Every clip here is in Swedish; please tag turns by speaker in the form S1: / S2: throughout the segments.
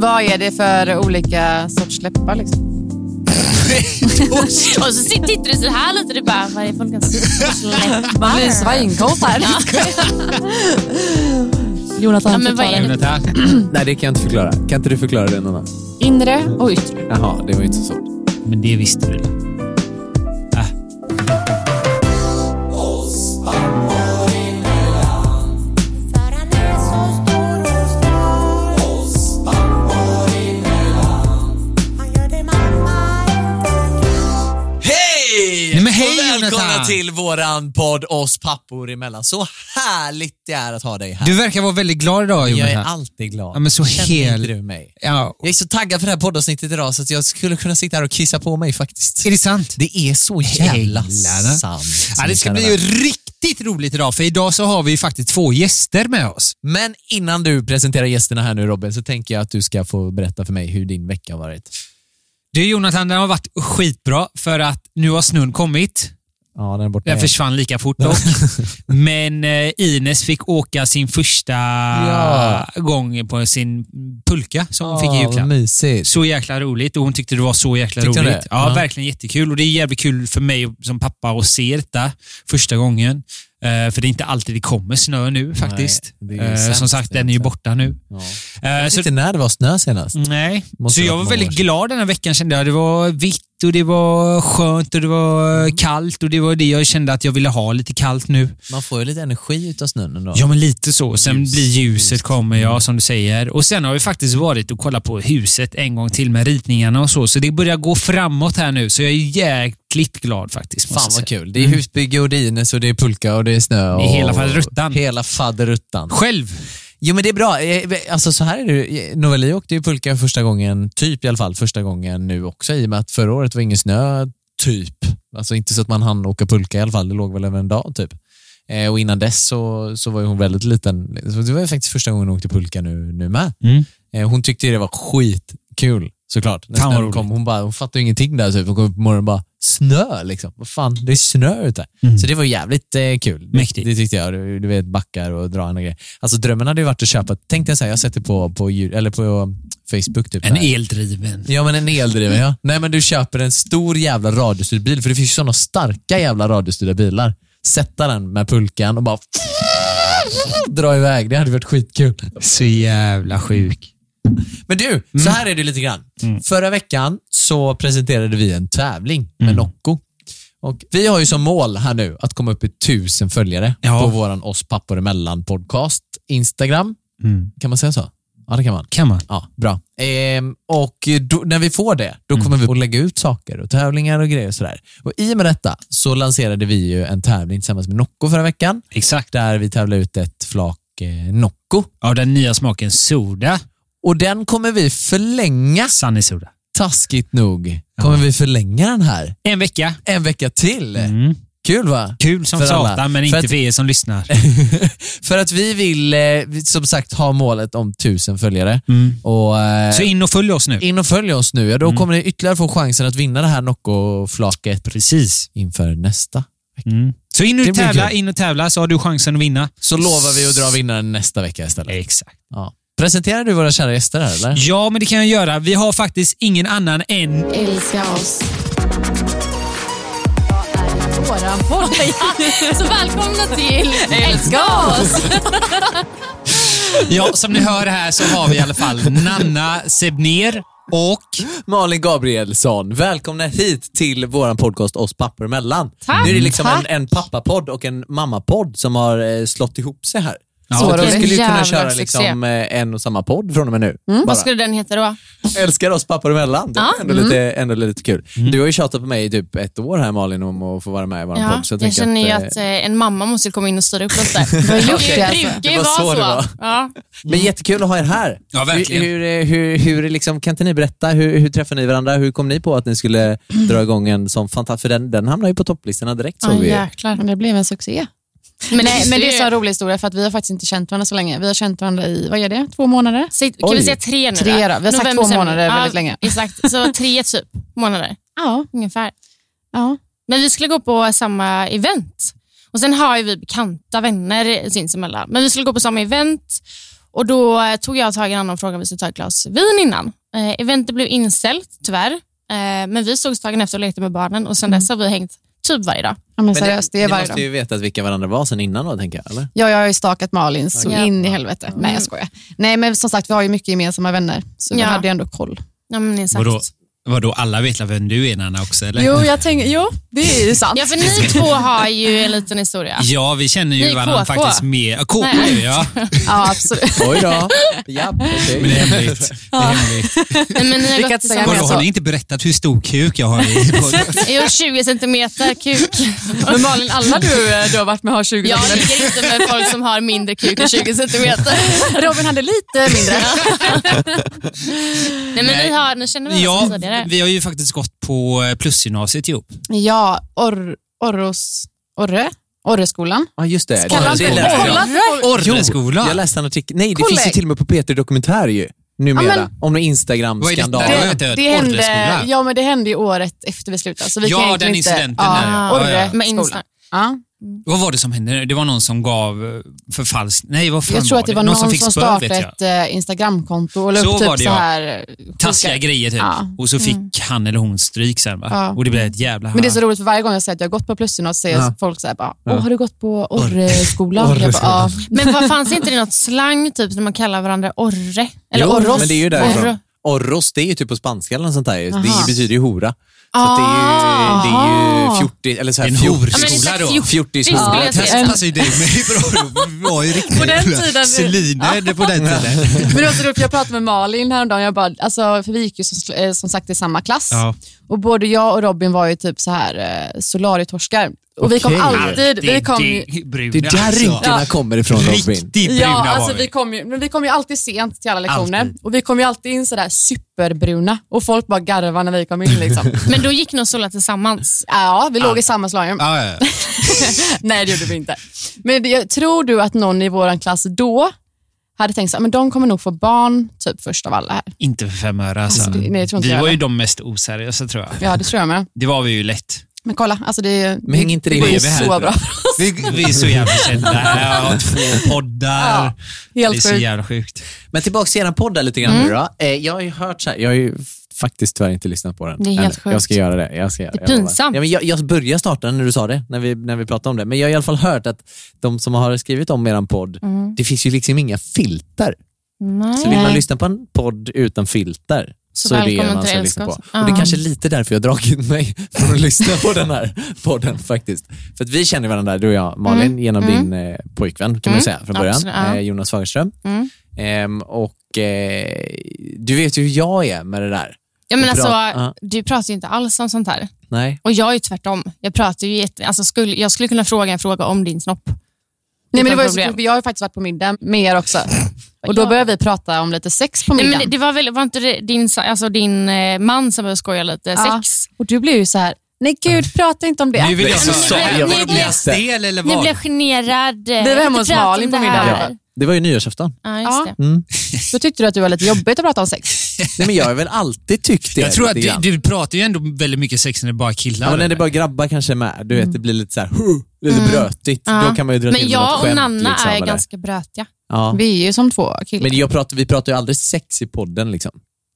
S1: Vad är det för olika sorts läppar? Liksom?
S2: Och så sitter- tittar du så här lite du bara, vad är folkens
S3: Man blir
S2: läppar?
S3: svincool här. Jonathan,
S2: Ja, men vad är det?
S4: Jonathan.
S5: Nej, det kan jag inte förklara. Kan inte du förklara det, Nanna?
S3: Inre och yttre.
S5: Jaha, det var ju inte så svårt.
S4: Men det visste du väl? Ah.
S6: Hej!
S4: Nej, men hej,
S6: och välkomna
S4: Jonathan.
S6: till våran podd oss pappor emellan. Så härligt det är att ha dig här.
S4: Du verkar vara väldigt glad idag,
S6: jag
S4: Jonathan.
S6: är alltid glad.
S4: Ja, men så
S6: Känner
S4: hel-
S6: inte du mig?
S4: Ja.
S6: Jag är så taggad för det här poddavsnittet idag så att jag skulle kunna sitta här och kissa på mig faktiskt.
S4: Är det sant?
S6: Det är så jävla
S4: Jävlarna.
S6: sant.
S4: Ja, det ska
S6: mina
S4: bli
S6: vänner.
S4: riktigt roligt idag, för idag så har vi ju faktiskt två gäster med oss.
S6: Men innan du presenterar gästerna här nu Robin, så tänker jag att du ska få berätta för mig hur din vecka har varit.
S4: Du Jonathan, den har varit skitbra för att nu har snön kommit.
S6: Ja, den är borta.
S4: Den
S6: igen.
S4: försvann lika fort dock. Men eh, Ines fick åka sin första
S6: Ja.
S4: gång på sin pulka som hon fick i
S6: Ja, vad
S4: julklapp.
S6: mysigt.
S4: Så jäkla roligt och hon tyckte det var så jäkla
S6: Tyckte hon
S4: roligt.
S6: det?
S4: Ja,
S6: Ja.
S4: verkligen jättekul. Och det är jävligt kul för mig som pappa att se detta första gången. Eh, för det är inte alltid det kommer snö nu faktiskt.
S6: det är ju
S4: Eh, som
S6: sämst
S4: sagt, den är ju
S6: egentligen.
S4: borta nu.
S6: Ja.
S4: Eh,
S6: Jag vet
S4: så,
S6: inte när det var snö senast.
S4: nej.
S6: Måste
S4: så
S6: ha
S4: jag
S6: varit
S4: var
S6: många
S4: väldigt
S6: år sedan.
S4: glad den här veckan kände jag. Det var vitt och det var skönt och det var
S6: Mm.
S4: kallt och det var det jag kände att jag ville ha lite kallt nu.
S6: Man får ju lite energi utav snön ändå.
S4: Ja, men lite så. Sen
S6: Ljus, Mm.
S4: blir ljuset
S6: ljust.
S4: kommer, ja, som du säger. Och sen har vi faktiskt varit och kollat på huset en gång till med ritningarna och så, så det börjar gå framåt här nu, så jag är jäkligt glad faktiskt. måste
S6: Fan
S4: jag
S6: vad
S4: säga.
S6: kul. Det är husbygge och det är Ines och det är pulka och det är snö. Och...
S4: Det är hela faderuttan.
S6: Hela faderuttan.
S4: Själv?
S6: Jo men det är bra. Eh, Alltså så här är det Novali åkte ju pulka första gången, typ i alla fall första gången nu också i och med att förra året var ingen snö, typ. Alltså inte så att man hann åka pulka i alla fall. Det låg väl över en dag typ. Eh, och innan dess så, så var ju hon väldigt liten. Så det var ju faktiskt första gången hon åkte pulka nu, nu med.
S4: Mm.
S6: Eh, hon tyckte ju det var skitkul såklart. När
S4: Fan vad
S6: snön
S4: roligt.
S6: kom, hon, bara, hon fattade ju ingenting där. Typ. Hon kom upp på morgonen och bara, snö liksom. Vad fan, det är snö ute. Så det var jävligt eh, kul.
S4: Mm. Mäktigt.
S6: Det, det tyckte jag. Du, du vet, backar och dra andra grejer. Alltså drömmen hade ju varit att köpa, tänk dig såhär, jag sätter på, på, djur- eller på Facebook typ.
S4: En
S6: Nej.
S4: eldriven.
S6: Ja men en eldriven ja. Nej men du köper en stor jävla radiostyrd bil, för det finns ju sådana starka jävla radiostyrda bilar. Sätta den med pulkan och bara dra iväg. Det hade varit skitkul.
S4: Så jävla sjuk.
S6: Men du, så här är det lite grann. Förra veckan så presenterade vi en tävling med Nocco. Och vi har ju som mål här nu att komma upp i tusen följare
S4: Ja.
S6: på våran oss pappor emellan podcast, Instagram.
S4: Mm.
S6: Kan man säga så? Ja, det kan man.
S4: Kan man?
S6: Ja, bra. Ehm, och då, när vi får det, då kommer vi att lägga ut saker och tävlingar och grejer och sådär. Och i och med detta så lanserade vi ju en tävling tillsammans med Nocco förra veckan.
S4: Exakt.
S6: Där vi tävlade ut ett flak eh, Nocco.
S4: Av den nya smaken soda.
S6: Och den kommer vi förlänga
S4: Sunny soda.
S6: taskigt nog kommer vi förlänga den här
S4: En vecka.
S6: en vecka till.
S4: Mm.
S6: Kul va?
S4: Kul som
S6: För alla.
S4: satan, men
S6: För
S4: inte
S6: att-
S4: för er som lyssnar.
S6: För att vi vill eh, vi- som sagt ha målet om tusen följare.
S4: Mm.
S6: Och, eh,
S4: Så in Mm. och följ oss nu.
S6: in och följ oss nu. Ja, då kommer ni ytterligare få chansen att vinna det här Nocco-flaket
S4: Precis.
S6: inför nästa.
S4: Mm. Så in
S6: Det
S4: och
S6: blir
S4: tävla,
S6: kul.
S4: in och tävla, så har du chansen att vinna.
S6: Så lovar vi att dra vinnaren nästa vecka istället.
S4: Exakt.
S6: Ja. Presenterar du våra kära gäster här eller?
S4: Ja, men det kan jag göra. Vi har faktiskt ingen annan än...
S3: Älska oss.
S1: Våran podd.
S2: Så välkomna till
S1: Älska oss!
S4: Ja, som ni hör här så har vi i alla fall Nanna Sebner och...
S6: Malin Gabrielsson, välkomna hit till vår podcast Oss pappor emellan.
S2: Tack.
S6: Nu är det liksom
S1: Tack.
S6: en, en pappapodd och en mammapodd som har eh, slått ihop sig här.
S4: Ja,
S6: Så de
S1: vilken
S6: skulle ju kunna
S1: jävla
S6: köra
S1: succé.
S6: liksom, eh, en och samma podd från och med nu. Bara.
S2: Mm. Vad skulle den heta då?
S6: Älskar oss pappor emellan. Det är ändå, lite,
S2: Mm.
S6: ändå lite kul.
S4: Mm.
S6: Du har ju tjatat på mig i typ ett år här Malin om att få vara med i vår
S2: Ja,
S6: podd. Så
S2: jag,
S6: jag, tänker
S2: känner ju
S6: eh,
S2: att eh, en mamma måste komma in och styra upp oss där.
S1: Vi har gjort
S2: Det
S1: det alltså.
S2: brukar
S6: Det
S2: ju
S6: var
S2: vara
S6: så
S2: så.
S6: det var.
S2: Ja.
S6: Men jättekul att ha er här.
S4: Ja, verkligen.
S6: Hur, hur, hur, hur liksom, kan inte ni berätta, hur, hur träffade ni varandra? Hur kom ni på att ni skulle dra igång en sån fantastisk... För den, den hamnar ju på topplistorna direkt såg
S1: Ja,
S6: vi.
S1: jäklar. Det blev en succé.
S2: Men,
S1: Nej, men det är så en rolig historia för att vi har faktiskt inte känt varandra så länge. Vi har känt varandra i, vad är det, två månader?
S2: Säg, kan
S6: Oj.
S2: vi säga tre nu
S1: Tre då? Vi har sagt två
S2: december.
S1: månader väldigt länge.
S2: Exakt, så tre typ månader
S1: Ja.
S2: ungefär.
S1: ja.
S2: Men vi skulle gå på samma event. Och Sen har ju vi bekanta vänner sinsemellan. Men vi skulle gå på samma event. Och Då eh, tog jag tag i en annan fråga om vi skulle ta ett glas vin innan. Eh, eventet blev inställt, tyvärr. Eh, men vi sågs dagen efter och lekte med barnen och
S4: Mm.
S2: sen dess har vi hängt typ varje dag.
S1: Ja, men
S7: Men
S1: seriöst, det är
S7: ni
S1: varje
S7: måste
S1: dag.
S7: ju veta vilka varandra var sen innan då, tänker jag. Eller?
S1: Ja, jag har ju stakat Malin så
S2: Okej.
S1: in i helvete. Nej, jag skojar. Nej, men som sagt, vi har ju mycket gemensamma vänner, så vi
S2: Ja.
S1: hade ju ändå koll.
S2: Ja, men exakt.
S4: Vadå? Vadå, alla vet väl vem du är Nanna också eller?
S1: Jo, jag tänker, jo, det är ju sant.
S2: Ja, för ni två har ju en liten historia.
S4: Ja, vi känner
S2: Ni
S4: ju
S2: är
S4: varandra
S2: KK.
S4: faktiskt mer. KK
S2: Nej.
S4: är vi, ja.
S1: Ja, absolut.
S6: Oj då. Japp, okej.
S4: Men det är hemligt. Det är hemligt.
S2: Nej, men ni har gått
S1: kan inte säga
S2: tillsammans.
S4: Vadå, har ni inte berättat hur stor kuk jag har i podden?
S2: Jo, 20 centimeter kuk.
S3: Men Malin, alla du, eh, du har varit med har 20
S2: Jag ligger inte med folk som har mindre kuk än 20 centimeter.
S1: Robin hade lite mindre.
S2: Nej, men
S4: Nej.
S2: Ni, har, ni känner varandra sedan
S4: Ja,
S2: tidigare.
S4: vi har ju faktiskt gått på eh, plusgymnasiet ihop.
S1: Ja, Or- Orros, Orre? Orreskolan.
S6: Ja, just det.
S1: Kallar
S6: det
S1: inte-
S6: läste jag.
S1: Kolla inte folk-
S4: Orreskolan.
S6: Jag läste en artikel. Nej, det
S1: Kolla.
S6: finns ju till och med på Peter Dokumentär ju. Numera.
S1: Ja, men-
S6: Om någon
S4: Vad är det
S6: Instagram-skandal.
S4: där?
S6: Det,
S4: jag vet inte,
S1: det, hände,
S4: Orreskolan.
S1: ja, men det hände ju året efter vi slutade. Så vi
S4: Ja,
S1: kan egentligen
S4: den
S1: inte,
S4: incidenten
S1: ja,
S4: där, ja. Ja, ja.
S1: Orreskolan.
S2: Med Insta.
S1: Ja.
S4: Vad var det som hände? Det var någon som gav eh, förfalsk... Nej, vad fan
S1: Jag tror att det var någon, som,
S4: fick spö,
S1: startade
S4: vet jag.
S1: ett eh, Instagramkonto och la
S4: Så
S1: upp
S4: var
S1: typ
S4: det,
S1: så
S4: ja.
S1: här
S4: Taskiga
S1: sjuka-
S4: grejer typ.
S1: Ja. Mm.
S4: Och så fick han eller hon stryk sen. Va?
S1: Ja.
S4: Och det blev ett jävla...
S1: Men det är så roligt för varje gång jag säger att jag har gått på plusgymnasiet så säger
S6: Ja.
S1: folk så här, bara, Åh, har du gått på Orreskolan? Jag bara, ja.
S2: Men vad fanns inte det något slang typ när man kallar varandra orre? Eller
S1: Jo,
S2: orros?
S6: men det är ju därifrån.
S2: Orro.
S6: Orros, det är ju typ på spanska eller något sånt där. ju.
S1: Jaha.
S6: Det betyder ju hora. Så att det är ju, det är ju
S1: Aha.
S6: fjortis, eller så här
S4: En
S6: fjort-
S4: horskola
S2: Ja, men exakt,
S4: då.
S2: fjort-
S6: fjortis
S2: skulle
S6: hora.
S2: jag säga.
S4: Testa sig dig med bra. Vi var ju riktigt
S3: På den tiden-
S4: Seliner på den tiden.
S1: Men det var så roligt, för jag pratade med Malin häromdagen, jag bara, alltså, för vi gick ju som, eh, som sagt i samma klass.
S4: Ja.
S1: Och både jag och Robin var ju typ så här eh, solarietorskar. Och vi kom
S6: Okej.
S1: alltid... Vi kom ju,
S4: Det är bruna,
S6: Det är där
S4: alltså.
S6: rynkorna kommer ifrån Robin.
S4: Riktigt bruna
S1: ja,
S4: var
S1: alltså,
S4: vi.
S1: vi, kom ju, men vi kom ju alltid sent till alla lektioner.
S4: Alltid.
S1: Och vi kom ju alltid in sådär superbruna. Och folk bara garvade när vi kom in. Liksom.
S2: Men då gick ni och solade tillsammans.
S1: ja, vi låg i samma slagrum.
S4: Ja, ja.
S1: Nej, det gjorde vi inte. Men det, tror du att någon i vår klass då hade tänkt så här, men de kommer nog få barn typ först av alla här?
S4: Inte för fem öre alltså.
S1: Alltså, det- nej, jag tror inte
S4: vi
S1: jag
S4: var ju
S1: heller.
S4: de mest oseriösa tror jag.
S1: Ja, det tror jag med.
S4: Det var vi ju lätt.
S1: Men kolla, alltså det,
S6: Men häng inte det
S1: det är ju
S6: ihop?
S4: vi här
S1: så
S4: nu?
S1: bra.
S4: Vi, vi är så jävla kända. Jag har två poddar.
S1: Ja,
S4: det är
S1: Helt
S4: så
S1: sjukt.
S4: jävla sjukt.
S6: Men tillbaka till er podd där lite grann
S2: Mm.
S6: nu då. Eh, jag har ju hört så här, jag har ju f- faktiskt tyvärr inte lyssnat på den.
S2: Det är helt
S6: ännu.
S2: sjukt.
S6: Jag ska göra det. Jag ska göra
S2: Det är
S6: jag lovar.
S2: pinsamt.
S6: Ja, men jag, jag började starta när du sa det, när vi, när vi pratade om det. Men jag har i alla fall hört att de som har skrivit om er podd,
S2: Mm.
S6: det finns ju liksom inga filter. Så
S2: Nej.
S6: vill man
S1: Nej.
S6: lyssna på en podd utan filter
S2: Så
S6: så, är det
S2: välkommen
S6: er man
S2: till
S6: ska
S2: Älskar
S6: lyssna på.
S2: oss.
S6: Och det
S2: Ja.
S6: är kanske är lite därför jag har dragit mig från att lyssna på den här podden faktiskt. För att vi känner varandra, du och jag, Malin, genom din eh, pojkvän kan man säga från början,
S2: Mm. Absolut, ja.
S6: eh, Jonas Fagerström.
S2: Mm.
S6: Ehm, och eh, du vet ju hur jag är med det där.
S2: Ja, men
S6: Och
S2: alltså,
S6: prat- ja.
S2: Du pratar ju inte alls om sånt här.
S6: Nej.
S2: Och jag är ju tvärtom. Jag, pratar ju jätte, alltså skulle, jag skulle kunna fråga en fråga om din snopp.
S1: Nej, men det var ju så,
S2: problem.
S1: kul, för jag har ju faktiskt varit på middag med er också. Och då
S2: Ja.
S1: började vi prata om lite sex på
S2: Nej,
S1: middagen.
S2: men det, det var väl var inte det din, sa- alltså din eh, man som började skoja lite?
S1: Ja.
S2: Sex?
S1: Och du blev ju så här, nej gud, prata inte om det.
S4: Nu vill jag
S6: Men-
S4: så,
S2: Men-
S4: jag
S2: Men-
S4: blir jag stel eller
S2: Nu
S4: vad?
S2: blev jag generad. eh,
S1: var hemma hos Malin på middagen.
S2: Ja.
S6: Ja. Det var ju nyårsafton. Mm.
S2: ja, just det.
S1: Då tyckte du att det var lite jobbigt att prata om sex.
S6: Nej, men jag har väl alltid tyckt det.
S4: Jag tror att
S6: lite
S4: du,
S6: grann.
S4: du pratar ju ändå väldigt mycket sex när det bara är killar.
S6: Ja, men när det
S4: eller?
S6: bara grabbar kanske är med, du vet det blir lite så här, huh, lite brötigt.
S2: Mm. Ja.
S6: Då kan man ju dra till
S2: Men
S6: med något
S2: jag och
S6: skämt,
S2: Nanna
S6: liksom,
S2: är
S6: eller-
S2: ganska brötiga.
S6: Ja.
S1: Vi är ju som två killar.
S6: Men jag pratar, vi pratar ju aldrig sex i podden. Liksom.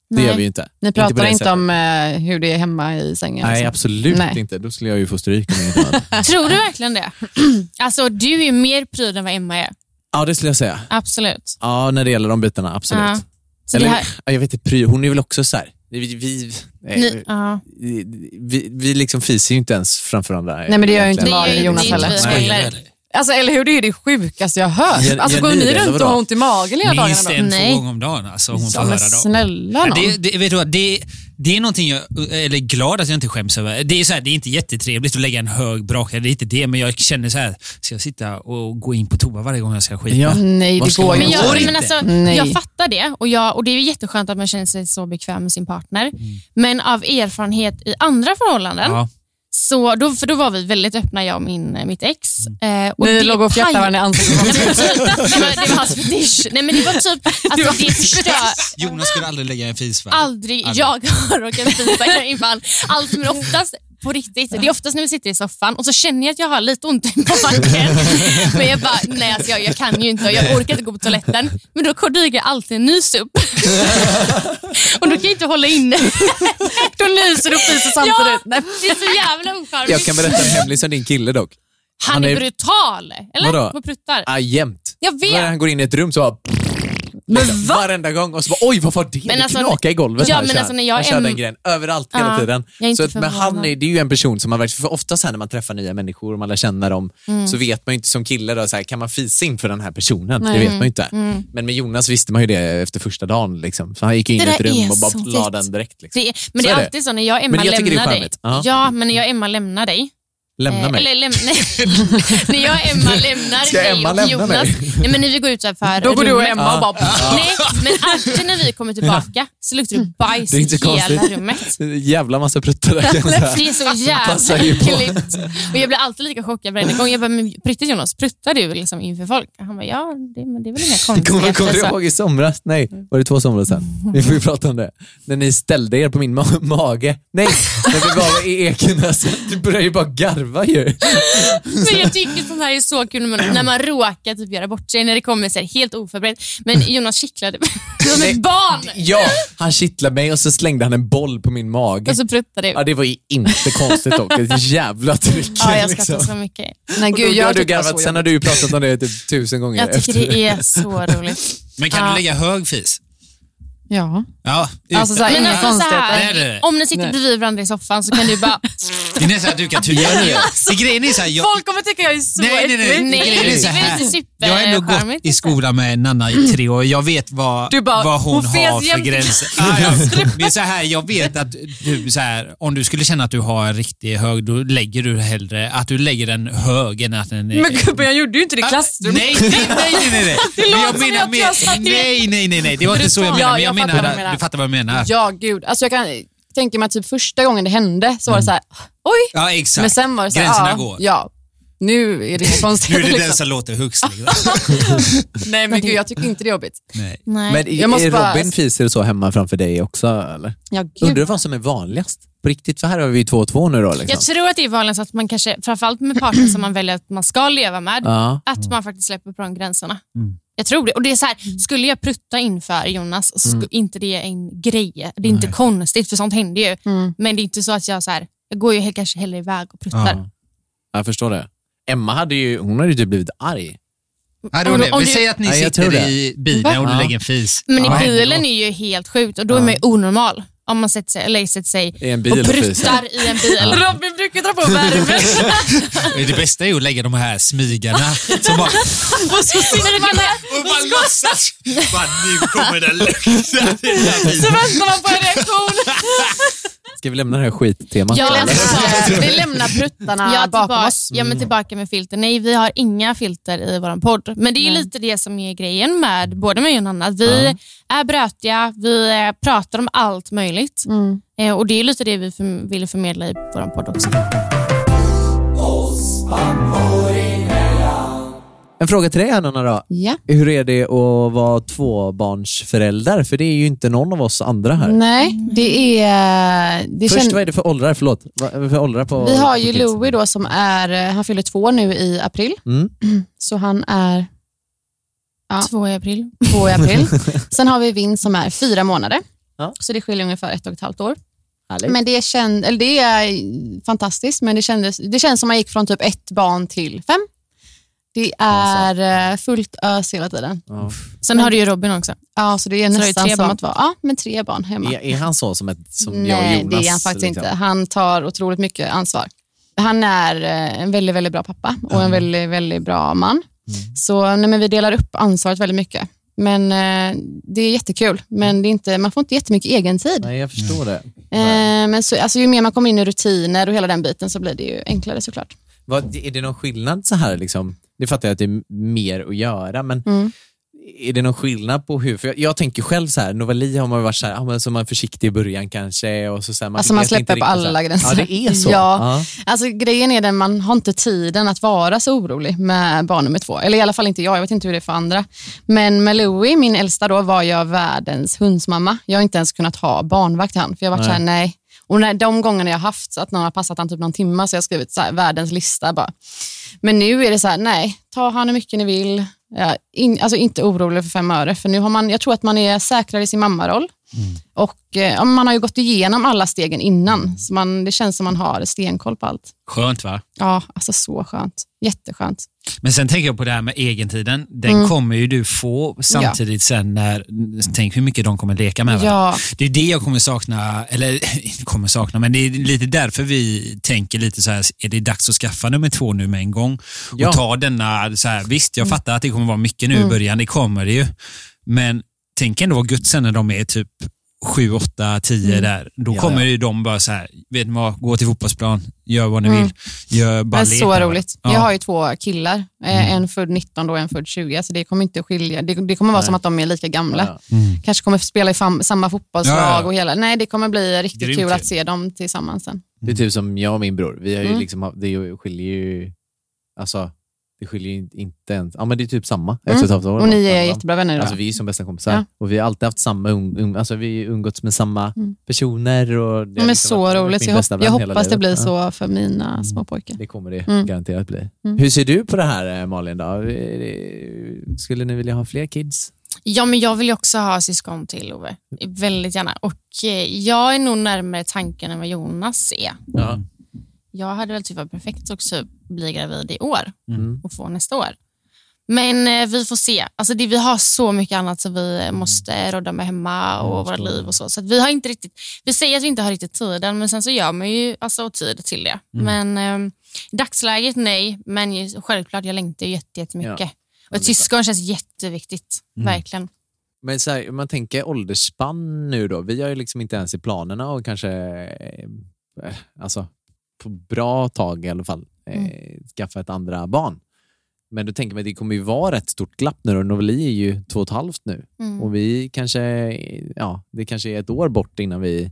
S6: Det
S2: Nej.
S6: gör vi ju inte.
S1: Ni
S6: på
S1: pratar
S6: det
S1: inte,
S6: sättet.
S1: om eh, hur det är hemma i sängen.
S6: Nej,
S1: liksom.
S6: absolut
S1: Nej.
S6: inte. Då skulle jag ju få stryk. Om jag inte hade.
S2: Tror du verkligen det? Alltså, du är ju mer pryd än vad Emma är.
S6: ja, det skulle jag säga.
S2: Absolut.
S6: Ja, när det gäller de bitarna, absolut.
S2: Ja. Så
S6: Eller,
S2: det här,
S6: ja, jag vet inte, Pry, hon är väl också så här. Vi, vi, eh,
S2: ni, ja.
S6: vi, vi, vi liksom fiser ju inte ens framför varandra.
S1: Nej, men det gör ju inte
S2: det
S6: egentligen.
S2: är
S1: Malin
S2: ju
S1: och Jonas
S2: det är inte
S1: heller.
S2: vi
S4: Nej,
S2: heller.
S1: Alltså, eller hur, det är ju det sjukaste jag har hört.
S6: Gör-
S1: alltså,
S6: gör
S1: går
S6: ni
S1: ni
S6: det,
S1: runt
S6: eller
S1: och har
S6: vadå?
S1: ont i magen hela
S4: Minst
S1: dagarna?
S4: en,
S2: Nej.
S4: två gånger om dagen. Alltså, hon
S1: Ja,
S4: får
S1: men
S4: höra dem.
S1: snälla
S4: Men
S1: nån.
S4: Det, det, vet du vad, det, det är någonting jag eller glad att jag inte skäms över. Det är, så här, det är inte jättetrevligt att lägga en hög brakare, det är inte det, men jag känner så här, ska jag sitta och gå in på toa varje gång jag ska skita?
S6: Ja.
S1: Nej,
S6: Vad
S1: det
S6: ska
S1: går
S6: man
S1: ju
S2: Men
S6: göra?
S1: inte.
S4: går
S2: jag, men
S4: inte.
S2: alltså,
S1: Nej.
S2: jag fattar det och, jag, och det är ju jätteskönt att man känner sig så bekväm med sin partner. Men av erfarenhet i andra förhållanden,
S1: Mm.
S4: Ja.
S2: så, då, för då var vi väldigt öppna, jag och min, mitt ex. Eh, och
S1: Ni
S2: det
S1: låg och
S2: paj-
S1: fjärtade varandra i ansiktet.
S2: Nej, men typ, det, var, det var hans fetisch. Nej, men det var typ, alltså, det förstör,
S4: Jonas skulle aldrig lägga en fis va?
S2: aldrig, jag har råkat fisa inför han. allt, men oftast på riktigt. Det är oftast när vi sitter i soffan och så känner jag att jag har lite ont i magen. Men jag bara, nej alltså jag, jag kan ju inte och jag orkar inte gå på toaletten. Men då dyker alltid en nys upp. och då kan jag inte hålla inne.
S1: Då nyser och fiser samtidigt. Nej,
S2: Det är så jävla ocharmigt.
S6: Jag kan berätta en hemlis om din kille dock.
S2: han,
S6: han
S2: är
S6: är-
S2: brutal. Eller?
S6: Vadå?
S2: Vad pruttar?
S6: Ah, jämt.
S2: Jag
S6: När
S2: vet.
S6: han går in i ett rum så bara... Men Varenda gång. Och så bara, oj vad var det?
S2: Men
S6: det
S2: alltså-
S6: knakade i golvet.
S2: Ja,
S6: här,
S2: men
S6: kör.
S2: alltså när jag
S6: han kör
S2: är-
S6: den grejen överallt
S2: Ja,
S6: hela tiden.
S2: jag är inte
S6: så att, men
S2: förvånad.
S6: han är, det är ju en person som man verkligen... För ofta så här när man träffar nya människor och man lär känna dem
S2: Mm.
S6: så vet man ju inte som kille, då, så här, kan man fisa inför den här personen? Det vet man ju inte.
S2: Mm.
S6: Men med Jonas visste man ju det efter första dagen. Liksom. Så han gick ju in i
S2: Det
S6: ett
S2: där är
S6: rum och bara
S2: så
S6: la
S2: fint.
S6: den direkt. Liksom.
S2: Det är, men
S6: Så
S2: det är
S6: är det.
S2: alltid så när jag och Emma
S6: Men jag tycker det är
S2: lämnar dig.
S6: charmigt. Ja.
S2: Ja, men när jag och Emma lämnar dig.
S6: Lämna
S2: Eh,
S6: mig.
S2: Eller läm nej. när jag och Emma lämnar
S6: Ska
S2: dig
S6: Emma
S2: och
S6: lämna
S2: Jonas.
S6: mig?
S2: Nej, men när vi går ut utanför
S1: Då går du och
S2: rummet-
S1: Emma och bara...
S2: Nej, men alltid när vi kommer tillbaka så luktar det bajs
S6: Det är inte
S2: i hela
S6: konstigt.
S2: rummet.
S6: Jävla massa pruttar där kan jag säga.
S2: Det är så
S6: passar
S2: jävla
S6: ju på.
S2: äckligt. Och jag blir alltid lika chockad varje gång. Jag bara, men på riktigt Jonas, pruttar du liksom inför folk? Han bara, ja, det, men det är väl inga
S6: Kommer, kommer du
S2: konstigheter. så.
S6: ihåg i somras? Nej, var det två somrar sedan?
S2: Mm.
S6: Vi får ju prata om det. När ni ställde er på min ma- mage. Nej, när vi var i Ekenäs. Du började ju bara garva ju.
S2: Men jag tycker sånt här är så kul när man, när man råkar typ göra bort sig, när det kommer så här, helt oförberett. Men Jonas kittlade som
S6: Nej.
S2: ett barn.
S6: Ja, han kittlade mig och så slängde han en boll på min mage.
S2: Och så pruttade du.
S6: Ja, det var ju inte konstigt dock. Det är ett jävla tryck.
S2: Ja, jag
S6: liksom.
S2: skrattar så mycket.
S1: Nej,
S6: Och då,
S1: gud,
S6: då har
S1: jag
S6: du
S1: tycker det var så
S6: garvat. Sen har
S1: jobbigt.
S6: du ju pratat om det typ tusen gånger.
S2: Jag tycker
S6: efter
S2: det är så roligt.
S1: Alltså-
S4: Men kan
S2: Ja.
S4: du lägga hög fis?
S1: Ja.
S4: Ja.
S1: Alltså, så här,
S2: Men
S1: inga
S2: alltså så
S1: konstigheter.
S4: Nej, nej,
S2: här,
S4: nej.
S2: om ni sitter
S1: Nej.
S2: bredvid varandå i soffan så kan du bara...
S4: Det är nästan att du kan tuta nu.
S1: alltså-
S4: Det Grejen är så här, jag,
S1: Folk kommer tycka jag är så
S4: Nej, nej, nej.
S1: äcklig.
S2: Nej,
S4: grejen är
S2: det
S4: så
S2: är väl
S4: här.
S2: inte
S4: Jag har ändå gått
S2: supercharmigt.
S4: i skolan med Nanna i tre år. Jag vet vad,
S1: Du bara,
S4: vad hon,
S1: hon fes
S4: har för
S1: jämt i
S4: gränser. Ah, ja. Men så här, jag vet att du, så här, om du skulle känna att du har en riktig hög, då lägger du hellre att du lägger den hög än att den är...
S1: Men gubben, jag gjorde ju
S6: Ah,
S1: inte det i klassrummet.
S4: Nej, nej, nej, nej, nej. nej. Men
S1: låter
S4: jag
S1: som
S4: menar
S1: att
S4: mer-
S1: jag satt i-
S4: Nej, nej, nej, nej. Det var inte så jag
S1: Ja,
S4: menade. Men jag
S1: jag
S4: menar,
S1: fattar vad du menar.
S4: du fattar vad jag
S1: Ja,
S4: menar.
S1: gud. Alltså, jag kan tänka mig att typ första gången det hände så var det så här, oj.
S4: Ja, Mm. exakt.
S1: Men sen var det så här,
S4: Gränserna
S1: ja,
S4: går.
S1: ja, nu är det inga
S4: Nu är
S1: konstigheter.
S4: det den
S1: liksom.
S4: som låter högst. liksom.
S1: Nej, men gud, jag tycker inte det är jobbigt.
S4: Nej.
S2: Nej.
S6: Men
S1: Jag måste
S6: är
S1: bara-
S6: Robin fiser så hemma framför dig också? Eller?
S1: Ja, gud.
S6: Undrar vad som är vanligast? På riktigt, för här har vi ju två och två nu då. Liksom.
S2: Jag tror att det är vanligt att man kanske, framförallt med partner som man väljer att man ska leva med,
S6: Ja.
S2: att man faktiskt släpper på de gränserna.
S4: Mm.
S2: Jag tror det. Och det är så här, skulle jag prutta inför Jonas så
S4: Mm.
S2: skulle inte det är en grej. Det är inte konstigt, för sånt händer ju. Men det är inte så att jag så här, jag går ju he- kanske hellre iväg och pruttar.
S4: Ja.
S6: Jag förstår det. Emma hade ju, hon hade ju typ blivit arg.
S4: Ja, det
S2: Om
S4: var
S2: du-
S4: det.
S2: om
S4: Vi
S2: du-
S4: säger att ni
S6: Nej, jag tror
S4: sitter
S6: det.
S4: i bilen och du
S6: Va?
S4: lägger en fis.
S2: Men
S4: Vad
S2: i
S4: händer då?
S2: bilen är ju helt sjukt och då är man ju onormal om man sätter sig, eller sätter sig
S6: I en bil
S2: och
S6: och
S2: pruttar
S6: fryser.
S2: i en bil.
S1: Robin brukar dra på värme.
S4: Det bästa är ju att lägga de här smygarna som bara...
S1: och så sitter man där
S4: Och bara låtsas. Bara, nu kommer den lukten.
S1: så väntar man på en reaktion.
S6: Ska vi lämna det här skittemat?
S2: Ja,
S6: eller?
S2: alltså,
S1: Vi lämnar pruttarna
S2: Ja,
S1: bakom
S2: tillbaka,
S1: oss.
S2: ja, men tillbaka med filter. Nej, vi har inga filter i vår podd. Men det är lite det som är grejen med både mig och Nanna. Vi är brötiga, vi eh, pratar om allt möjligt. Eh, och Det är lite det vi förm- vill förmedla i vår podd också.
S6: En fråga till dig här Anna då.
S1: Ja.
S6: Hur är det att vara tvåbarnsförälder? För det är ju inte någon av oss andra här.
S1: Nej, det är... Det
S6: Först,
S1: kän-
S6: vad är det för åldrar? Förlåt. Vad är det för åldrar på,
S1: vi har
S6: på
S1: ju
S6: kids?
S1: Louie då som är, han fyller två nu i april.
S6: Mm.
S1: Så han är Ja.
S2: Två i april.
S1: två i april. Sen har vi Vinn som är fyra månader.
S6: Ja.
S1: Så det skiljer ungefär ett och ett halvt år.
S6: Härligt.
S1: Men det, känd, eller det är fantastiskt, men det, kändes, det känns som man gick från typ ett barn till fem. Det är eh, fullt ös hela tiden.
S6: Ja.
S2: Sen har du ju Robin också.
S1: Ja, så det är
S2: Så det är
S1: nästan
S2: tre
S1: som
S2: barn.
S1: att vara ja, men tre barn hemma.
S6: Är, är han så som, ett, som jag och
S1: Nej,
S6: Jonas?
S1: det är han faktiskt
S6: liksom?
S1: inte. Han tar otroligt mycket ansvar. Han är eh, en väldigt, väldigt bra pappa och en väldigt, väldigt bra man.
S6: Mm.
S1: Så nej, men vi delar upp ansvaret väldigt mycket. Men eh, det är jättekul, men det är inte, man får inte jättemycket egen tid.
S6: Nej, jag förstår det.
S1: Eh, men så, alltså, ju mer man kommer in i rutiner och hela den biten så blir det ju enklare såklart.
S6: Vad, är det någon skillnad så här? Liksom? Det fattar jag att det är mer att göra, men
S1: Mm.
S6: är det någon skillnad på hur? För jag, jag tänker själv så här, Novali har man ju varit så här, ah, men så är man försiktig i början kanske. Och så, så här, man
S1: Alltså man
S6: vet inte
S1: släpper på
S6: riktigt så
S1: alla
S6: här.
S1: gränser.
S6: Ja, det är så.
S1: Ja.
S6: Ja.
S1: Alltså, grejen är den, man har inte tiden att vara så orolig med barn nummer två. Eller i alla fall inte jag, jag vet inte hur det är för andra. Men med Louie, min äldsta då, var jag världens hundsmamma. Jag har inte ens kunnat ha barnvakt till han, för jag har varit såhär, nej. Och när, de gångerna jag har haft så att någon har passat han typ någon timma så har jag skrivit så här, världens lista bara. Men nu är det så här, nej, ta han hur mycket ni vill. Ja, in, alltså inte orolig för fem öre, för nu har man, jag tror att man är säkrare i sin mammaroll. Och eh, ja, man har ju gått igenom alla stegen
S6: Mm.
S1: innan, så man, det känns som man har stenkoll på allt.
S4: Skönt va?
S1: Ja, alltså så skönt. Jätteskönt.
S4: Men sen tänker jag på det här med egentiden. Den kommer ju du få samtidigt sen när, tänk hur mycket de kommer leka med varandra.
S1: Ja,
S4: Det är det jag kommer sakna, eller inte kommer sakna, men det är lite därför vi tänker lite så här, är det dags att skaffa nummer två nu med en gång? Och
S6: Ja.
S4: ta denna, så här, visst jag fattar att det kommer vara mycket nu i början, det kommer det ju. Men tänk ändå vad gött sen när de är typ sju, åtta, tio där. Då
S6: Ja,
S4: kommer
S6: ja.
S4: ju de bara så här, vet ni vad, gå till fotbollsplan, gör vad ni
S1: Mm.
S4: vill. Gör
S1: det
S4: bara
S1: är
S4: lek
S1: så
S4: med varandra.
S1: roligt.
S4: Ja.
S1: Jag har ju två killar, eh,
S6: Mm.
S1: en född 19 och en född 20, så det kommer inte att skilja. Det, det kommer vara
S6: Nej.
S1: som att de är lika gamla.
S6: Ja.
S4: Mm.
S1: Kanske kommer spela i fam- samma fotbollslag
S4: Ja, ja.
S1: och hela. Nej, det kommer bli riktigt
S4: Grymt
S1: kul
S4: kul.
S1: att se dem tillsammans sen.
S6: Det är typ som jag och min bror. Vi har ju
S1: Mm.
S6: liksom, haft- det är ju- skiljer ju... Alltså, det skiljer ju inte- inte ens... Ja, men det är typ samma. Efter ett halvt år.
S1: Mm. Och ni är
S6: Ja.
S1: jättebra vänner idag.
S6: Alltså vi är som bästa kompisar
S1: Ja.
S6: och vi har alltid haft samma, um, um, alltså vi har ju umgåtts med samma
S1: Mm.
S6: personer. Och det har
S1: De är
S6: liksom
S1: så
S6: varit
S1: roligt.
S6: min
S1: Jag,
S6: bästa
S1: hop- jag
S6: vän hela
S1: hoppas det
S6: livet.
S1: blir
S6: Ja.
S1: så för mina små pojkar.
S6: Det kommer det
S1: Mm.
S6: garanterat bli.
S1: Mm.
S6: Hur ser du på det här eh, Malin? Då? Är det- Skulle ni vilja ha fler kids?
S2: Ja, men jag vill ju också ha syskon till Ove. Väldigt gärna. Och eh, jag är nog närmare tanken än vad Jonas är.
S6: Ja.
S2: Jag hade väl typ varit perfekt att typ bli gravid i år
S6: Mm.
S2: och få nästa år. Men eh, vi får se. Alltså det, vi har så mycket annat som vi måste rodda med hemma och våra liv och så. Så att vi har inte riktigt, vi säger att vi inte har riktigt tiden, men sen så gör man ju alltså tid till det. Men eh, i dagsläget nej, men ju, självklart jag längtar ju jätte- jättemycket. Och ett
S6: det är klart.
S2: syskon känns jätteviktigt, verkligen.
S6: Men så här, om man tänker åldersspann nu då. Vi har ju liksom inte ens i planerna och kanske, eh, eh, alltså på bra tag i alla fall, eh,
S2: Mm.
S6: skaffa ett andra barn. Men då tänker man att det kommer ju vara ett stort glapp nu och Noveli är ju två och ett halvt nu.
S2: Mm.
S6: Och vi kanske, ja, det kanske är ett år bort innan vi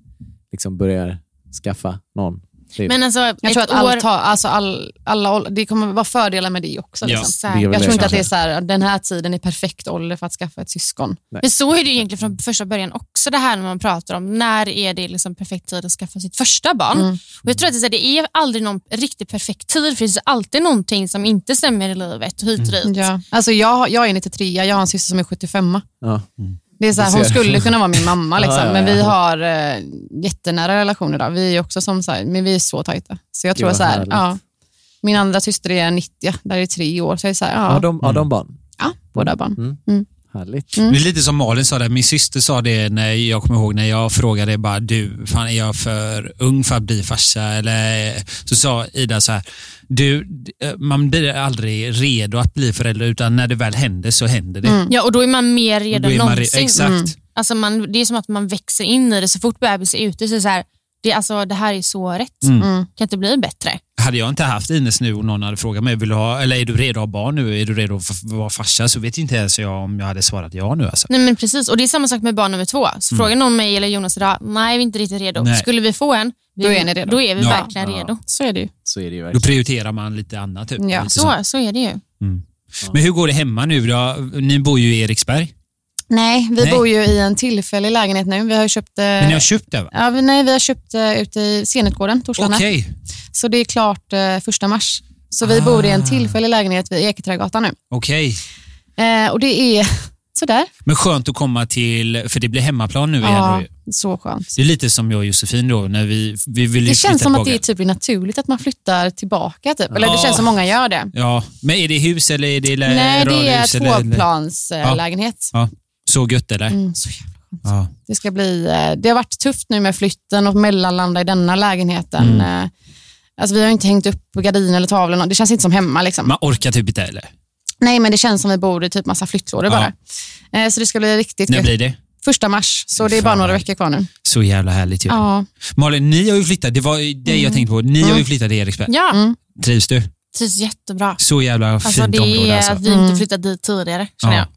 S6: liksom börjar skaffa någon. Typ.
S2: Men alltså,
S1: Jag
S2: ett
S1: tror att
S2: år...
S1: allt har, alltså all, alla, ål- det kommer vara fördelar med det också.
S4: Ja.
S1: Liksom.
S6: Det är väl
S1: Jag tror inte att det är
S6: kanske.
S1: så här, den här tiden är perfekt ålder för att skaffa ett syskon.
S2: Men så är det ju egentligen från första början också det här när man pratar om när är det liksom perfekt tid att skaffa sitt första barn.
S1: Mm.
S2: Och jag tror att det är så här, det är aldrig någon riktigt perfekt tid för det finns alltid någonting som inte stämmer i livet hit och dit.
S1: Ja. Alltså jag, jag är 93, jag har en syster som är 75.
S6: Ja.
S1: Det är så här,
S6: Du ser.
S1: hon skulle kunna vara min mamma, liksom.
S6: Ja, ja, ja.
S1: men vi har eh, jättenära relationer idag. Vi är också som så här, men vi är så tajta. Så jag
S6: Gud,
S1: tror
S6: vad
S1: så här,
S6: härligt.
S1: ja, min andra syster är 90, där är tre år, så jag är så här, ja,
S6: Har, de, har de barn?
S1: ja, båda barn.
S6: Härligt.
S2: Mm.
S4: Det är lite som Malin sa, där. min syster sa det när jag kommer ihåg när jag frågade bara du, fan är jag för ung för att bli farsa? Eller, så sa Ida så här, du, eh, man blir aldrig redo att bli förälder utan när det väl händer så händer det.
S2: Ja, och då är man mer Mm. redo
S4: Då
S2: än
S4: är man re-
S2: någonsin.
S4: Exakt.
S2: Alltså man, det är som att man växer in i det. Så fort bebis är ute så är det så här, det, är alltså, det här är så rätt. kan inte bli bättre.
S4: Hade jag inte haft Ines nu och någon hade frågat mig, vill du ha, eller är du redo att ha barn nu? Är du redo att f- vara farsa? Så vet inte ens jag om jag hade svarat ja nu. Alltså.
S2: Nej men precis, och det är samma sak med barn nummer två. Så frågar någon mig eller Jonas idag, nej vi är inte riktigt redo.
S4: Nej.
S2: Skulle vi få en, vi,
S1: Då är ni redo.
S2: Då är vi
S4: Ja.
S2: verkligen
S6: Ja.
S2: redo.
S1: Så är det ju.
S6: Så är det ju
S4: Då
S6: verkligen.
S4: prioriterar man lite annat. Typ.
S1: Ja.
S4: Lite så. Mm.
S2: Så, så är det ju.
S4: Men hur går det hemma nu då? Ni bor ju i Eriksberg,
S1: Nej, vi
S4: Nej.
S1: bor ju i en tillfällig lägenhet nu. Vi har ju köpt, eh,
S4: men ni har köpt det va?
S1: ja, vi- nej, vi har köpt eh, ute i Senutgården, Torslanda.
S4: Okej,
S1: Så det är klart eh, första mars. Så vi bor i en tillfällig lägenhet vid Eketrädgatan nu.
S4: okej.
S1: Eh, och det är sådär.
S4: Men skönt att komma till, för det blir hemmaplan nu igen.
S1: Ja,
S4: då ju.
S1: så skönt.
S4: Det är lite som jag och Josefin då, när vi, vi vill ju
S1: Det
S4: flytta
S1: känns som att det
S4: tillbaka.
S1: är typ naturligt att man flyttar tillbaka. Typ. Eller det
S4: Ja.
S1: känns som många gör det.
S4: Ja, men är det hus eller är det lä-
S1: Nej, det är
S4: Eh, radhus eller- Ja.
S1: tvåplanslägenhet.
S4: Ja, så gött eller?
S1: Mm, så jävla skönt.
S4: Ja.
S1: Det, ska bli, eh, det har varit tufft nu med flytten och mellanlanda i denna lägenheten. Eh, Alltså, vi har ju inte hängt upp gardiner eller tavlor. Det känns inte som hemma. Liksom.
S4: Man orkar typ inte eller?
S1: Nej, men det känns som vi bor i typ massa flyttlådor
S4: Ja.
S1: bara. Eh, Så det ska bli riktigt
S4: När
S1: gött.
S4: blir det?
S1: Första mars, så det är bara
S4: Fan.
S1: några veckor kvar nu.
S4: Så jävla härligt ju.
S1: Ja. Mm.
S4: Malin, ni har ju flyttat. Det var ju det jag tänkte på. Ni har ju flyttat till Eriksberg.
S2: Ja,
S4: Trivs du?
S2: trivs jättebra.
S4: Så jävla
S2: Alltså,
S4: fint
S2: det
S4: område
S2: är
S4: alltså.
S2: att vi inte flyttat dit tidigare, känner
S4: Ja.
S2: jag.